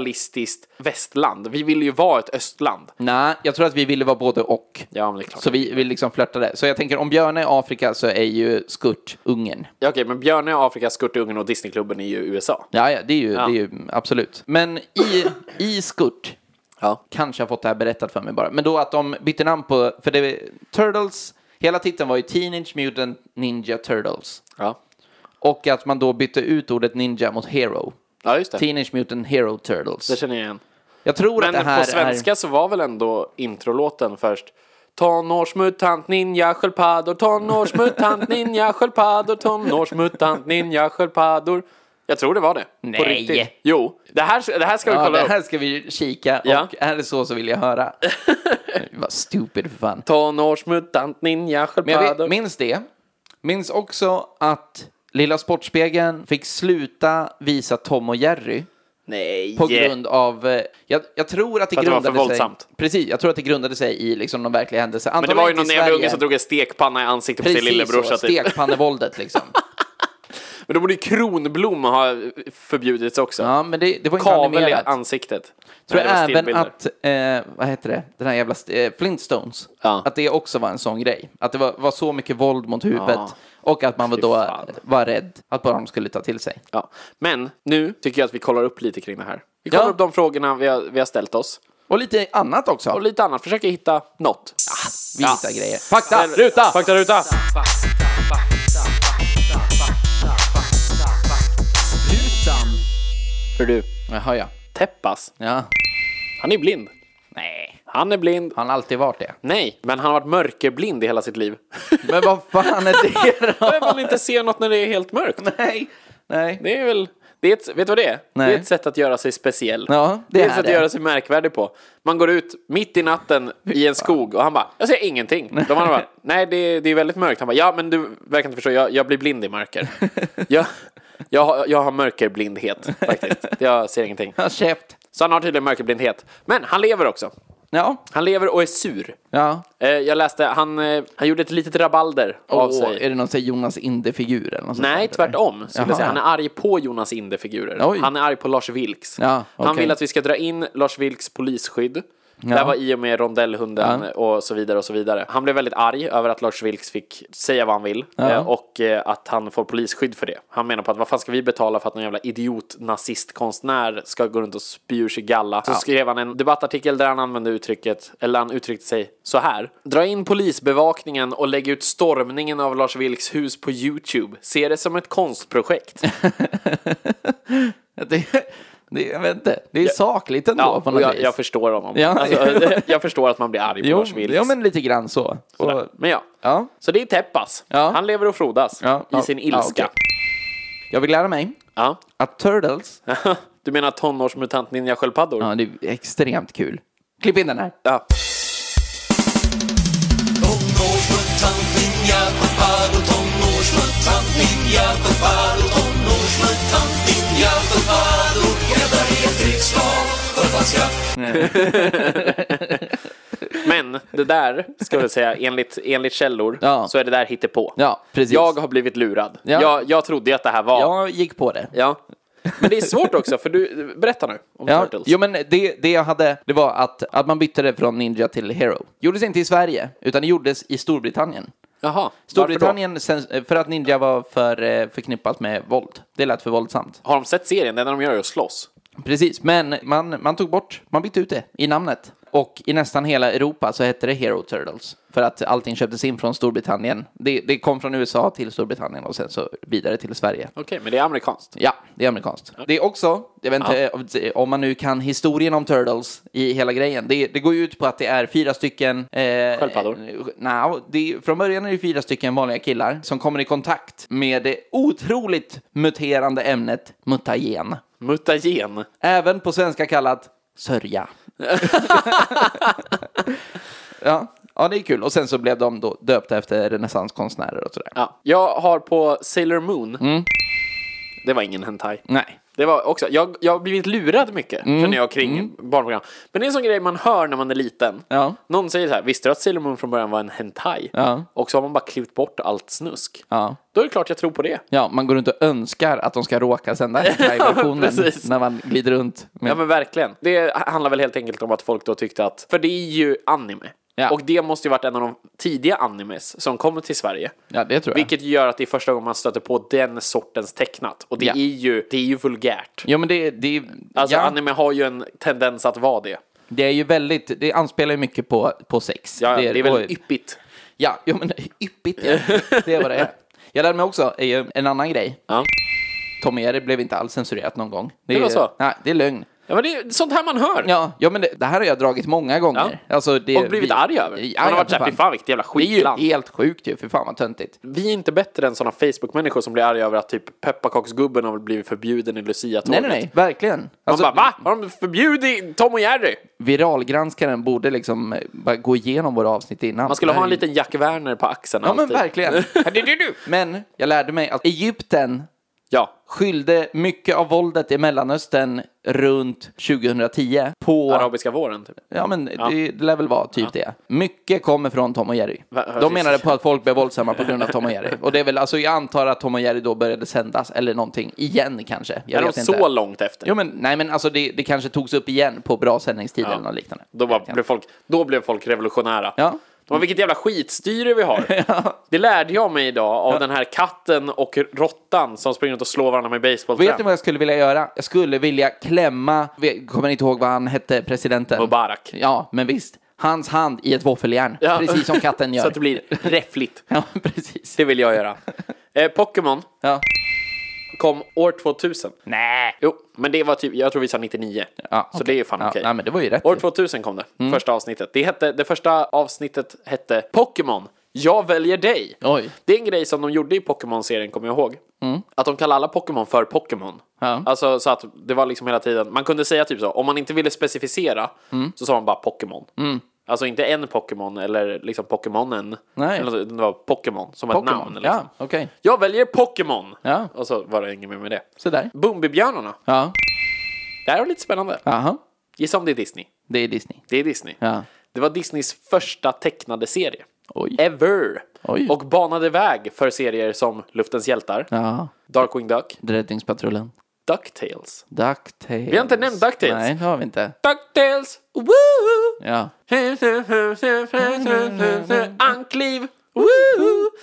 A: kapitalistiskt västland. Vi ville ju vara ett östland.
B: Nej, jag tror att vi ville vara både och.
A: Ja, men det är klart.
B: Så vi, vi liksom flörtade. Så jag tänker, om Björn är Afrika så är ju Skurt Ungern.
A: Ja, okej, men Björne är Afrika, Skurt är Ungern och Disneyklubben är ju USA.
B: Ja, ja, det är ju, Det är ju absolut. Men i, i Skurt,
A: Ja.
B: kanske har fått det här berättat för mig bara, men då att de bytte namn på, för det Turtles, hela titeln var ju Teenage Mutant Ninja Turtles.
A: Ja,
B: Och att man då bytte ut ordet ninja mot hero.
A: ja just det.
B: Teenage Mutant Hero Turtles.
A: Det känner jag igen.
B: Jag tror att det
A: Men
B: här
A: på svenska
B: är...
A: så var väl ändå introlåten först Tonårsmutant ninja sköldpaddor, tonårsmutant ninja sköldpaddor, tonårsmutant ninja sköldpaddor. Jag tror det var det.
B: Nej.
A: På riktigt. Jo. Det här, det här ska vi
B: Ja,
A: kolla
B: det
A: upp.
B: här ska vi kika
A: Ja.
B: och är det så så vill jag höra. Vad stupid för fan.
A: Tonårsmutant ninja
B: Men jag vet,
A: sköldpaddor.
B: minns det. Minns också att Lilla Sportspegeln fick sluta visa Tom och Jerry
A: Nej.
B: på grund av... eh, Jag, jag tror att det
A: För att det var
B: grundade
A: för våldsamt.
B: sig... Precis, jag tror att det grundade sig i liksom någon verklig händelse.
A: Men det
B: Antagligen
A: var ju
B: inte i
A: någon jävla
B: Sverige.
A: unge som drog en stekpanna i ansiktet på
B: Precis
A: sin lillebrorsa.
B: så,
A: Typ.
B: stekpannevåldet liksom.
A: Men då borde ju kronblom ha förbjudits också.
B: Ja, men det, det var inte
A: Kavel i
B: animerat.
A: ansiktet.
B: tror
A: Nej, det var
B: även
A: stillbilder.
B: att, eh, vad heter det, den här jävla st- eh, Flintstones,
A: Ja.
B: att det också var en sån grej. Att det var, var så mycket våld mot huvudet
A: Ja.
B: och att man var
A: Fy
B: då
A: fan.
B: var rädd att bara de skulle ta till sig.
A: Ja. Men nu tycker jag att vi kollar upp lite kring det här. Vi kollar
B: Ja.
A: upp de frågorna vi har, vi har ställt oss.
B: Och lite annat också.
A: Och lite annat, försöker hitta något.
B: Vi hittar grejer. Fakta,
A: Eller-
B: ruta!
A: Faktaruta! Hör du,
B: Jaha, ja.
A: Teppas,
B: ja.
A: han är blind.
B: Nej,
A: Han är blind.
B: han har alltid varit det.
A: Nej, men han har varit mörkerblind i hela sitt liv.
B: Men vad fan är det då?
A: Vem vill inte se något när det är helt mörkt?
B: Nej, nej.
A: Det är väl... Det är ett, vet du vad det är? Det
B: Nej.
A: är ett sätt att göra sig speciell.
B: Ja, det
A: det är ett
B: är
A: sätt
B: det.
A: att göra sig märkvärdig på. Man går ut mitt i natten i en skog och han bara, jag ser ingenting. De andra bara, nej det, det är väldigt mörkt. Han bara, ja men du verkar inte förstå, jag, jag blir blind i mörker. Jag, jag, har- jag har mörkerblindhet faktiskt. Jag ser ingenting.
B: Ja, käft.
A: Så han har tydligen mörkerblindhet. Men han lever också.
B: Ja,
A: Han lever och är sur.
B: ja.
A: Eh, Jag läste, han, eh, han gjorde ett litet rabalder av
B: Och
A: sig.
B: är det någon sån här Jonas Inde-figur eller något sånt
A: Nej,
B: där?
A: tvärtom. Skulle
B: Jaha.
A: jag säga. Han är arg på Jonas Inde-figurer.
B: Oj.
A: Han är arg på Lars Vilks.
B: Ja,
A: Han
B: okej.
A: vill att vi ska dra in Lars Vilks polisskydd. Det här var i och med rondellhunden och så vidare och så vidare. Han blev väldigt arg över att Lars Vilks fick säga vad han vill eh, och eh, att han får polisskydd för det. Han menar på att vad fan ska vi betala för att någon jävla idiot nazistkonstnär ska gå runt och spy ur sig galla. Så skrev han en debattartikel där han använde uttrycket, eller han uttryckte sig så här. Dra in polisbevakningen och lägg ut stormningen av Lars Vilks hus på Youtube. Se det som ett konstprojekt.
B: Det, det, jag vet inte. Det är sakligt ändå
A: Ja,
B: på
A: och
B: något
A: jag,
B: vis.
A: jag förstår honom.
B: Ja.
A: Alltså, jag förstår att man blir arg på
B: Jo,
A: Lars Vilks.
B: ja, men lite grann så.
A: Sådär.
B: Och,
A: Men ja.
B: ja.
A: Så det är Teppas.
B: Ja.
A: Han lever och frodas
B: Ja,
A: i
B: ja,
A: sin
B: ja,
A: ilska.
B: okej. Jag vill lära mig
A: Ja,
B: att Turtles,
A: Du menar tonårsmutant ninja sköldpaddor?
B: ja, det är extremt kul. Klipp in den här.
A: Ja.
D: Tonårsmutant ninja Torpedo Tonårsmutant ninja Torpedo Tonårsmutant ninja Torpedo Jävlar i ett riksdag Hör vad skratt
A: Men det där, ska jag säga, enligt, enligt källor,
B: Ja.
A: så är det där hittepå.
B: Ja, precis.
A: Jag har blivit lurad.
B: Ja.
A: Jag, jag trodde ju att det här var...
B: Jag gick på det.
A: Ja. Men det är svårt också, för du... Berätta nu om
B: Ja,
A: Turtles.
B: jo, men det, det jag hade, det var att, att man bytte det från Ninja till Hero. Gjordes inte i Sverige, utan det gjordes i Storbritannien.
A: Jaha, varför
B: Storbritannien, sen, för att Ninja var för eh, förknippat med våld. Det lät för våldsamt.
A: då? Har de sett serien? Det enda de gör är att slåss.
B: Precis, men man, man tog bort, man bytte ut det i namnet. Och i nästan hela Europa så hette det Hero Turtles. För att allting köptes in från Storbritannien. Det, det kom från USA till Storbritannien och sen så vidare till Sverige.
A: Okej, men det är amerikanskt.
B: Ja, det är amerikanskt. Det är också, jag vet inte eh, om man nu kan historien om Turtles i hela grejen. Det, det går ju ut på att det är fyra stycken... Eh,
A: Sköldpaddor?
B: eh, nja, det, från början är det fyra stycken vanliga killar som kommer i kontakt med det otroligt muterande ämnet mutagen.
A: Mutagen.
B: Även på svenska kallat sörja. ja. ja, det är kul. Och sen så blev de då döpta efter renässanskonstnärer och sådär. Mm.
A: Ja. Jag har på Sailor Moon... Det var ingen hentai.
B: Nej.
A: Det var också, jag, jag har blivit lurad mycket,
B: Mm.
A: känner jag, kring barnprogram. Men det är en sån grej man hör när man är liten.
B: Ja.
A: Någon säger så här, visste du att Sailor Moon från början var en hentai?
B: Ja.
A: Och så har man bara klivit bort allt snusk.
B: Ja.
A: Då är det klart jag tror på det.
B: Ja, man går runt och önskar att de ska råka sända versionen
A: precis.
B: när man glider runt. Med...
A: Ja men verkligen. Det handlar väl helt enkelt om att folk då tyckte att, för det är ju anime.
B: Ja.
A: Och det måste ju varit en av de tidiga animes som kommer till Sverige.
B: ja, det tror jag.
A: Vilket gör att det är första gången man stöter på den sortens tecknat. Och det,
B: Ja.
A: är, ju, det är ju vulgärt.
B: Jo, men det, det,
A: Alltså
B: ja,
A: anime har ju en tendens att vara det.
B: det är ju väldigt, det anspelar ju mycket på, på sex.
A: Ja, det,
B: och-
A: är väldigt yppigt.
B: Ja, jo, men yppigt. Ja. Det är vad det är. Jag lärde mig också eh, en annan grej.
A: Ja.
B: Tom och Jerry blev inte alls censurerat någon gång.
A: Det var
B: är-
A: så?
B: Nej, det är lögn.
A: Ja, men det är sånt här man hör.
B: Ja, ja men det, det här har jag dragit många gånger. Alltså, det,
A: Och blivit
B: vi-
A: arg över.
B: Ja,
A: man
B: ja,
A: har varit
B: för
A: såhär, fy fan vilket jävla
B: Det är
A: skitland.
B: ju helt sjukt ju, för fan vad töntigt.
A: Vi är inte bättre än sådana Facebook-människor som blir arga över att typ pepparkaksgubben har blivit förbjuden i lucia
B: Nej, nej, nej, verkligen.
A: Man
B: Alltså,
A: bara, va? Har de förbjudit Tom och Jerry?
B: Viralgranskaren borde liksom eh, bara gå igenom våra avsnitt innan.
A: Man skulle
B: Det
A: ha
B: här
A: en
B: är ju-
A: liten Jack Werner på axeln
B: Ja, men
A: alltid.
B: verkligen. men jag lärde mig att Egypten
A: Ja,
B: skyllde mycket av våldet i Mellanöstern runt 2010 på...
A: arabiska våren. Typ.
B: Ja, men det det lär väl vara typ det. Mycket kommer från Tom och Jerry. De menade på att folk blev våldsamma på grund av Tom och Jerry. Och det är väl, alltså jag antar att Tom och Jerry då började sändas, eller någonting, igen kanske. Jag
A: Är de
B: vet inte.
A: så långt efter?
B: Jo, men nej, men alltså det, det kanske togs upp igen på bra sändningstid eller något liknande.
A: Då, bara, blev folk, då blev folk revolutionära.
B: Ja.
A: De bara, vilket jävla skitstyre vi har. Det lärde jag mig idag av den här katten och råttan som springer runt och slår varandra med
B: Vet ni
A: basebollträ.
B: vad jag skulle vilja göra? Jag skulle vilja klämma, jag kommer inte ihåg vad han hette, presidenten.
A: Mubarak.
B: Ja, men visst. Hans hand i ett våffeljärn.
A: Ja.
B: Precis som katten gör.
A: Så att det blir räffligt.
B: Ja, precis.
A: Det vill jag göra. Eh, Pokémon
B: Ja.
A: kom år 2000.
B: Nej.
A: Jo, men det var typ, jag tror vi sa 99.
B: Ja,
A: Så
B: okej.
A: det är fan
B: Ja,
A: okej.
B: nej, men Mm. det var ju rätt
A: År
B: ju.
A: 2000 kom det, första avsnittet. Det, hette, det första avsnittet hette Pokémon, jag väljer dig.
B: Oj.
A: Det är en grej som de gjorde i Pokémon-serien, kommer jag ihåg. Att de kallade alla Pokémon för Pokémon.
B: Mm. Ja.
A: Alltså så att det var liksom hela tiden, man kunde säga typ så, om man inte ville specificera
B: Mm.
A: så sa man bara Pokémon. Alltså inte en Pokémon eller liksom Pokémonen.
B: Nej.
A: Eller, något, utan det var Pokémon som var ett namn.
B: Pokémon.
A: Liksom.
B: Ja, okej.
A: Jag väljer Pokémon!
B: Ja.
A: Och så var det inget mer med det.
B: Sådär.
A: Bumbibjörnarna.
B: Ja.
A: Det här var lite spännande.
B: Aha.
A: Gissa om det är Disney.
B: Det är Disney.
A: Det är Disney.
B: Ja.
A: Det var Disneys första tecknade serie.
B: Oj.
A: Eh. Ever.
B: Oj.
A: Och banade väg för serier som Luftens hjältar,
B: Ja.
A: Darkwing Duck,
B: Räddningspatrullen.
A: Ducktails.
B: Ducktails.
A: Vi har inte nämnt Ducktails.
B: Nej, det har vi inte.
A: Ducktails! Woo!
B: Ja,
A: Ankliv! Woo!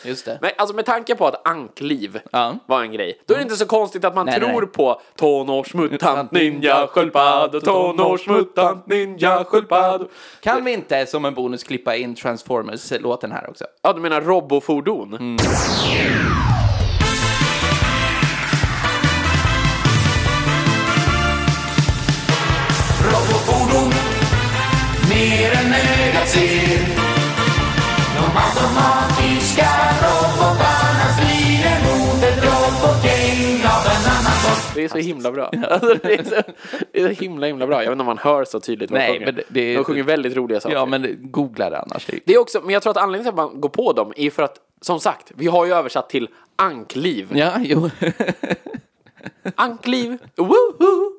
B: just det.
A: Men alltså med tanke på att ankliv
B: Ja.
A: var en grej, då är det inte så konstigt att man
B: Nej, nej,
A: tror
B: nej.
A: på tonårsmutant, ninja, sköldpaddor, tonårsmutant, ninja, sköldpaddor.
B: Kan vi inte som en bonus klippa in Transformers-låten här också?
A: Ja, du menar robofordon?
B: Mm.
D: Robotfordon Mer än ögat ser De automatiska robotarna strider mot ett robotgäng av en annan sort
A: Det är så himla bra. Alltså, det, är så, det är så himla himla bra. Jag vet inte om man hör så tydligt vad de
B: Nej,
A: sjunger.
B: men det- det-
A: De sjunger väldigt roliga saker.
B: Ja, men googla det annars.
A: Det är också, men jag tror att anledningen till att man går på dem är för att, som sagt, vi har ju översatt till ankliv.
B: Ja, jo.
A: Ankliv! Woho!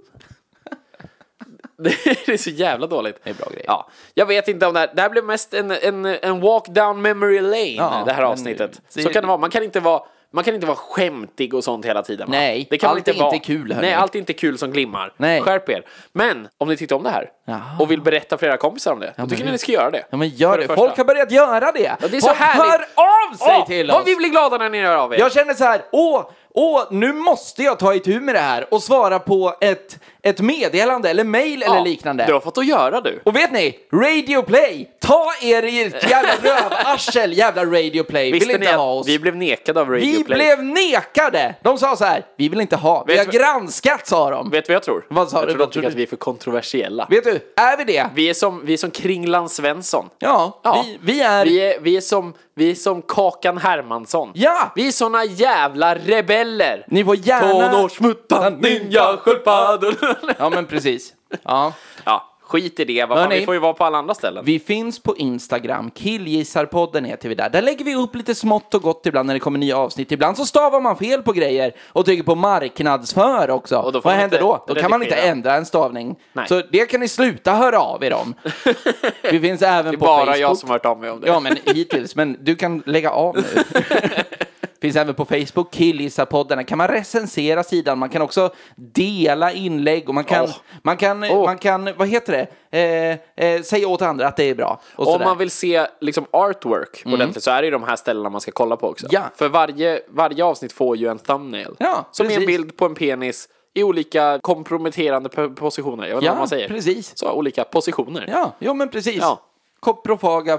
A: Det är så jävla dåligt. Det är
B: bra grejer.
A: Ja. Jag vet inte om det här, det här blev mest en, en, en walk down memory lane,
B: Ja,
A: det här
B: men
A: avsnittet.
B: det-
A: Så kan det vara, man kan inte vara man kan inte vara skämtig och sånt hela tiden. va?
B: Nej,
A: det kan man
B: allt är inte
A: vara.
B: kul, hörni.
A: Nej, allt är inte kul som glimmar.
B: Nej.
A: Skärp er. Men om ni tyckte om det här och vill berätta för era kompisar om det, då tycker jag ni ska göra det.
B: Ja, men gör
A: För
B: det.
A: första.
B: Folk har börjat göra det.
A: det är så
B: Folk hör
A: härligt.
B: av sig
A: Åh,
B: till
A: vad
B: oss.
A: vi blir glada när ni hör av er.
B: Jag känner så här, åh, åh, nu måste jag ta itu med det här och svara på ett, ett meddelande eller mail eller
A: Ja,
B: liknande.
A: Du har fått att göra du.
B: Och vet ni? Radio Play! Ta er i ert jävla rövarsel, jävla Radio Play. Vill
A: Visste
B: inte
A: ni
B: ha
A: att
B: oss.
A: vi blev nekade av Radio
B: Vi
A: Play?
B: blev nekade! De sa så här, vi vill inte ha. Vi
A: Vet
B: har
A: du-
B: granskat, sa de.
A: Vet du vad jag tror?
B: Vad sa
A: jag
B: du?
A: tror de
B: Vad tror
A: tycker
B: du?
A: att vi är för kontroversiella.
B: Vet du, är vi det?
A: Vi är som, vi är som Kringland Svensson.
B: Ja, Vi, vi är...
A: Vi är, vi är, som, vi är som Kakan Hermansson.
B: Ja!
A: Vi är såna jävla rebeller!
B: Ni får gärna...
A: Tonårsmuttan, ninja, sköldpaddor.
B: Ja, men precis. Ja.
A: Ja, Skit i det, vad fan,
B: Hörni.
A: vi får ju vara på alla andra ställen.
B: Vi finns på Instagram, killgissarpodden heter vi där. Där lägger vi upp lite smått och gott ibland när det kommer nya avsnitt. Ibland så stavar man fel på grejer och trycker på marknadsför också.
A: Och då får
B: Vad
A: man
B: händer
A: inte
B: då? Då kan man inte
A: redigera.
B: ändra en stavning.
A: Nej.
B: Så det kan ni sluta höra av er om. Vi finns även
A: det är
B: på
A: bara
B: Facebook.
A: jag som har hört av mig om det.
B: Ja, men hittills. Men du kan lägga av nu. Finns även på Facebook, Killgissarpodden. Där kan man recensera sidan. Man kan också dela inlägg och man kan,
A: Åh.
B: man kan,
A: Åh.
B: man kan vad heter det? Eh, eh, säga åt andra att det är bra. Och
A: Om
B: sådär. Mm.
A: man vill se liksom artwork ordentligt så är det ju de här ställena man ska kolla på också.
B: Ja.
A: För varje, varje avsnitt får ju en thumbnail.
B: Ja,
A: som är en
B: precis.
A: bild på en penis i olika komprometterande po- positioner. Jag vet inte
B: Ja,
A: vad man säger.
B: precis.
A: Så, olika positioner.
B: Ja, jo men precis.
A: Ja.
B: Koprofaga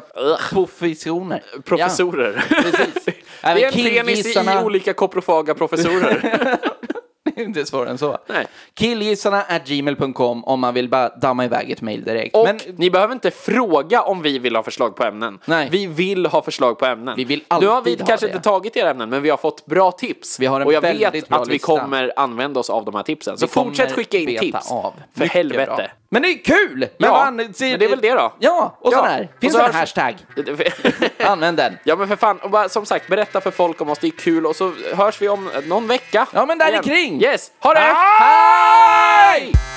B: professioner.
A: Professorer.
B: Precis.
A: det är
B: Även
A: en penis i
B: killgissarna-
A: olika koprofaga professorer.
B: Ja, det är inte svårare än så.
A: Nej.
B: Killgissarna at gmail.com om man vill bara damma iväg ett mail direkt.
A: Och
B: men
A: ni behöver inte fråga om vi vill ha förslag på ämnen.
B: Nej.
A: Vi vill ha förslag på ämnen.
B: Vi vill
A: nu har vi
B: alltid ha
A: kanske
B: det.
A: inte tagit era ämnen, men vi har fått bra tips.
B: Vi har en
A: och jag
B: väldigt
A: vet
B: bra
A: att vi
B: lista.
A: kommer använda oss av de här tipsen. Så
B: vi kommer
A: fortsätt skicka in
B: beta
A: tips.
B: Av.
A: För
B: Mycket
A: helvete.
B: bra. Men det är kul! Men,
A: Ja,
B: fan,
A: men det är väl det då?
B: Ja, och
A: Ja,
B: sån här.
A: och
B: Finns
A: så
B: det en
A: hörs-
B: hashtag? Använd den.
A: Ja men för fan, och bara, som sagt, berätta för folk om oss, det är kul och så hörs vi om eh, någon vecka.
B: Ja, men där
A: Igen.
B: kring.
A: Yes, ha det!
B: Hej!